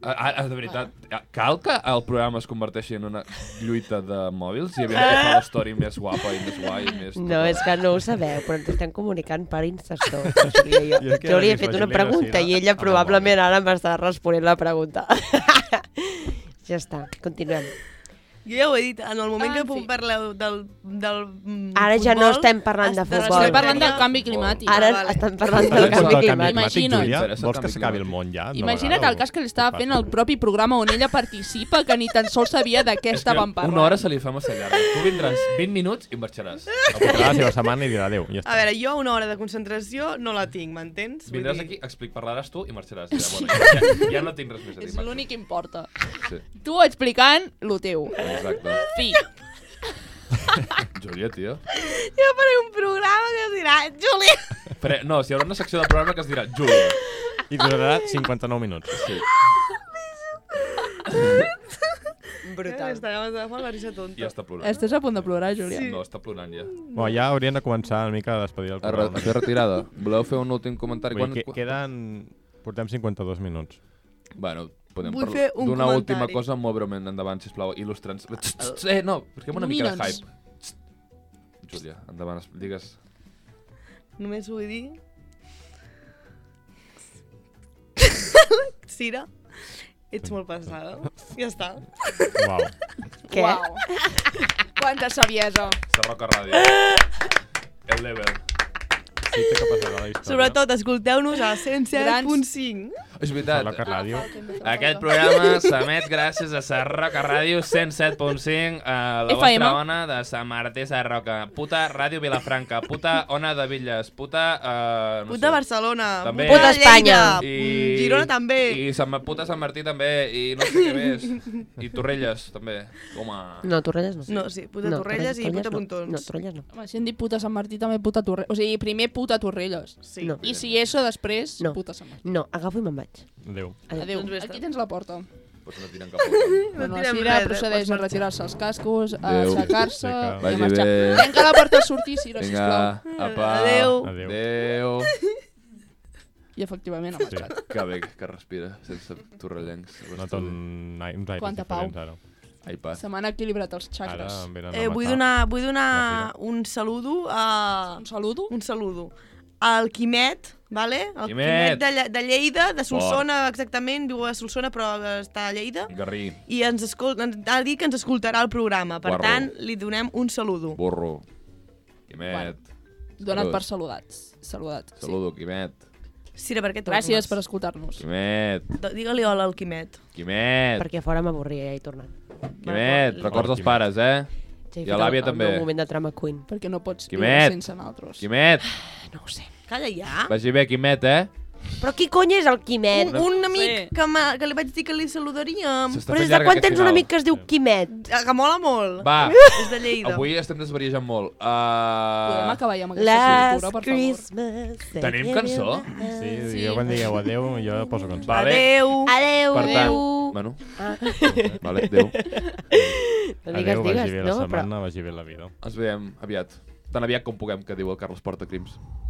Speaker 1: ara, de veritat, eh, cal que el programa es converteixi en una lluita de mòbils i aviam que fa la story més guapa i més guai i més...
Speaker 2: No, és que no ho sabeu, però ens estem comunicant per Instastory. O sigui, jo,
Speaker 4: I és que
Speaker 2: jo li he
Speaker 4: és
Speaker 2: fet
Speaker 4: la
Speaker 2: una
Speaker 4: Gilera,
Speaker 2: pregunta
Speaker 4: sí, no?
Speaker 2: i ella
Speaker 4: Ah,
Speaker 2: probablement ara m'està responent la pregunta. ja està, continuem.
Speaker 3: Jo ja ho he dit, en el moment
Speaker 6: Ah,
Speaker 3: que
Speaker 6: en
Speaker 3: puc
Speaker 6: fi.
Speaker 3: parlar del, del mm,
Speaker 2: Ara ja no
Speaker 3: futbol,
Speaker 2: estem parlant de
Speaker 3: es- la
Speaker 2: futbol.
Speaker 6: Estem parlant
Speaker 3: secretaria-
Speaker 6: del canvi climàtic.
Speaker 2: Ara
Speaker 3: vale.
Speaker 2: estem parlant
Speaker 4: Parlem
Speaker 2: del
Speaker 4: del
Speaker 2: canvi climàtic.
Speaker 4: climàtic,
Speaker 6: Imagina't.
Speaker 4: Júlia?
Speaker 1: Interessa el
Speaker 4: Vols que
Speaker 1: canvi
Speaker 4: s'acabi el
Speaker 1: climàtic.
Speaker 4: món ja? d'una
Speaker 6: Imagina't
Speaker 4: vegada,
Speaker 6: el
Speaker 4: o-
Speaker 6: cas que li estava
Speaker 4: què
Speaker 6: fent
Speaker 4: passa?
Speaker 6: el propi programa on ella participa, que ni tan sols sabia de què estaven parlant.
Speaker 1: Una hora se li fa massa llarga. Tu vindràs 20 minuts i marxaràs.
Speaker 4: Apuntarà la seva setmana i dirà adéu. Ja
Speaker 3: A
Speaker 4: està.
Speaker 3: veure, jo una hora de concentració no la tinc, m'entens? Vull
Speaker 1: Vindràs
Speaker 3: dir,
Speaker 1: aquí, explic, parlaràs tu i marxaràs. Ja, bueno, ja, ja no tinc res més a dir.
Speaker 6: És
Speaker 1: marxa.
Speaker 6: l'únic que importa.
Speaker 1: Sí,
Speaker 6: Tu explicant lo teu.
Speaker 1: exacte.
Speaker 6: Fi.
Speaker 1: Júlia, tio.
Speaker 3: Jo faré un programa que es dirà Júlia!
Speaker 1: Però, no, si hi haurà una secció del programa que es dirà Júlia.
Speaker 4: I durarà 59 minuts.
Speaker 1: Sí.
Speaker 2: Brutal.
Speaker 3: eh, Està agafant la Marisa tonta.
Speaker 1: I ja està plorant.
Speaker 6: Estàs a punt de plorar, Júlia?
Speaker 1: No, està plorant ja.
Speaker 4: Bueno, ja haurien de començar una mica a despedir el programa.
Speaker 1: fer retirada. Voleu fer un últim comentari?
Speaker 4: Vull dir, que, queden... Portem 52 minuts.
Speaker 1: Bueno, podem
Speaker 3: Vull
Speaker 1: parlar
Speaker 3: fer un
Speaker 1: d'una
Speaker 3: comentari.
Speaker 1: última cosa molt breument endavant, sisplau. Il·lustra'ns. Txt, txt, Eh, no, busquem una mica de
Speaker 6: Il·lumina'ns.
Speaker 1: hype. Txt. Júlia, endavant, es- digues.
Speaker 3: Només vull dir... Cira, ets molt pesada. Ja està.
Speaker 4: Uau.
Speaker 2: Què?
Speaker 6: Uau. Quanta saviesa.
Speaker 1: Sarroca Ràdio. El level.
Speaker 4: Sí, té que passar a la història.
Speaker 3: Sobretot, escolteu-nos a
Speaker 6: Grans.
Speaker 3: 107.5.
Speaker 1: És veritat.
Speaker 4: Parla que ràdio.
Speaker 1: Aquest programa s'emet gràcies a Sarroca Ràdio 107.5, a eh, la
Speaker 6: FM.
Speaker 1: vostra ona de Sant Martí Sarroca. Puta Ràdio Vilafranca, puta ona de Villas, puta... Uh, no
Speaker 3: Puta
Speaker 1: sé.
Speaker 3: Barcelona.
Speaker 1: També.
Speaker 2: Puta Espanya.
Speaker 1: I,
Speaker 3: Girona també.
Speaker 1: I Sant, Ma- puta Sant Martí també, i no sé què més. I Torrelles també. Home.
Speaker 2: No, Torrelles no.
Speaker 3: No, sí, puta Torrelles i puta Pontons.
Speaker 2: No, no Torrelles no.
Speaker 6: Home, si hem dit puta Sant Martí, també puta Torrelles. O sigui, primer puta Torrelles.
Speaker 3: Sí.
Speaker 2: No.
Speaker 6: I si això després,
Speaker 2: No.
Speaker 6: puta Sant Martí.
Speaker 2: No, agafo i me'n vaig.
Speaker 4: Adéu.
Speaker 2: Adéu.
Speaker 6: Adéu.
Speaker 3: Doncs vés-te'n.
Speaker 6: Aquí tens la porta.
Speaker 1: Pots anar tirant cap al...
Speaker 6: No, no,
Speaker 3: tirem
Speaker 6: Sira
Speaker 3: res, eh?
Speaker 6: procedeix
Speaker 3: Pots
Speaker 6: a
Speaker 3: marxar.
Speaker 6: retirar-se els cascos, a
Speaker 1: Adéu.
Speaker 6: aixecar-se
Speaker 4: Vinga.
Speaker 6: i a
Speaker 1: Vagi
Speaker 6: marxar.
Speaker 1: bé.
Speaker 6: Tanca la porta a sortir, Sira,
Speaker 1: Vinga,
Speaker 6: sisplau.
Speaker 1: apa.
Speaker 3: Adéu.
Speaker 4: Adéu.
Speaker 1: Adéu.
Speaker 6: I efectivament ha marxat.
Speaker 1: Que bé que respira, sense torrellencs.
Speaker 4: No tot un, ai- uns aires
Speaker 6: Quanta pau.
Speaker 4: diferents ara.
Speaker 1: Ai, pas.
Speaker 6: Se m'han equilibrat els
Speaker 4: Ara
Speaker 6: xacres.
Speaker 4: em venen a
Speaker 3: Eh, vull
Speaker 4: matar.
Speaker 3: donar, vull donar un saludo a...
Speaker 6: Un saludo.
Speaker 3: Un saludo. Al Quimet, vale? El
Speaker 1: Quimet!
Speaker 3: Quimet, de, Lle- de Lleida, de Solsona, exactament, viu a Solsona però està a Lleida.
Speaker 1: Garrí,
Speaker 3: I ens escolta, ens ha dit que ens escoltarà el programa. Per
Speaker 1: Guarro.
Speaker 3: tant, li donem un saludo.
Speaker 1: burro, Quimet.
Speaker 6: Donat
Speaker 1: Salut.
Speaker 6: per saludats. Saludats. Sí.
Speaker 1: Saludo, Quimet.
Speaker 3: Sira, per què tornes?
Speaker 6: Gràcies per escoltar-nos.
Speaker 1: Quimet,
Speaker 3: Do- Digue-li hola al Quimet.
Speaker 1: Quimet,
Speaker 2: Perquè a fora m'avorria ja he tornat.
Speaker 1: Quimet. Records els pares, eh?
Speaker 2: Ja he
Speaker 1: I
Speaker 2: fet
Speaker 1: a l'àvia
Speaker 2: el-
Speaker 1: també.
Speaker 2: El meu moment de trama queen.
Speaker 6: Perquè no pots
Speaker 1: Quimet.
Speaker 6: viure sense naltros.
Speaker 1: Quimet,
Speaker 3: Ah,
Speaker 2: No ho sé.
Speaker 3: Calla
Speaker 6: Ah.
Speaker 3: ja.
Speaker 1: vagi bé, Quimet, eh?
Speaker 2: Però qui cony és el Quimet?
Speaker 3: Un, un amic
Speaker 6: Sí.
Speaker 3: que, m'ha- que li vaig dir que li saludaríem.
Speaker 1: S'està
Speaker 2: Però des
Speaker 1: fent
Speaker 2: de
Speaker 1: llarg
Speaker 2: quan
Speaker 1: aquest
Speaker 2: tens un
Speaker 1: final.
Speaker 2: amic que es diu Quimet?
Speaker 3: Eh, Que mola molt.
Speaker 1: Va,
Speaker 3: És de Lleida.
Speaker 1: avui estem desvariejant molt.
Speaker 6: Podem
Speaker 1: Uh...
Speaker 6: acabar ja amb aquesta
Speaker 2: Last
Speaker 6: cultura, per favor.
Speaker 2: Christmas... eh,
Speaker 1: Tenim cançó?
Speaker 4: Sí,
Speaker 6: Sí.
Speaker 4: jo quan digueu adéu, jo poso cançó.
Speaker 1: Va.
Speaker 3: Adeu.
Speaker 2: Adeu.
Speaker 1: Per tant, bueno,
Speaker 6: Ah.
Speaker 1: vale, adéu.
Speaker 2: digues,
Speaker 4: Adéu, vagi
Speaker 2: digues,
Speaker 4: bé la
Speaker 2: no? Però
Speaker 4: setmana, vagi bé la vida.
Speaker 1: Ens veiem aviat. Tan aviat com puguem, que diu el Carles Porta Crims.
Speaker 5: Oh, oh,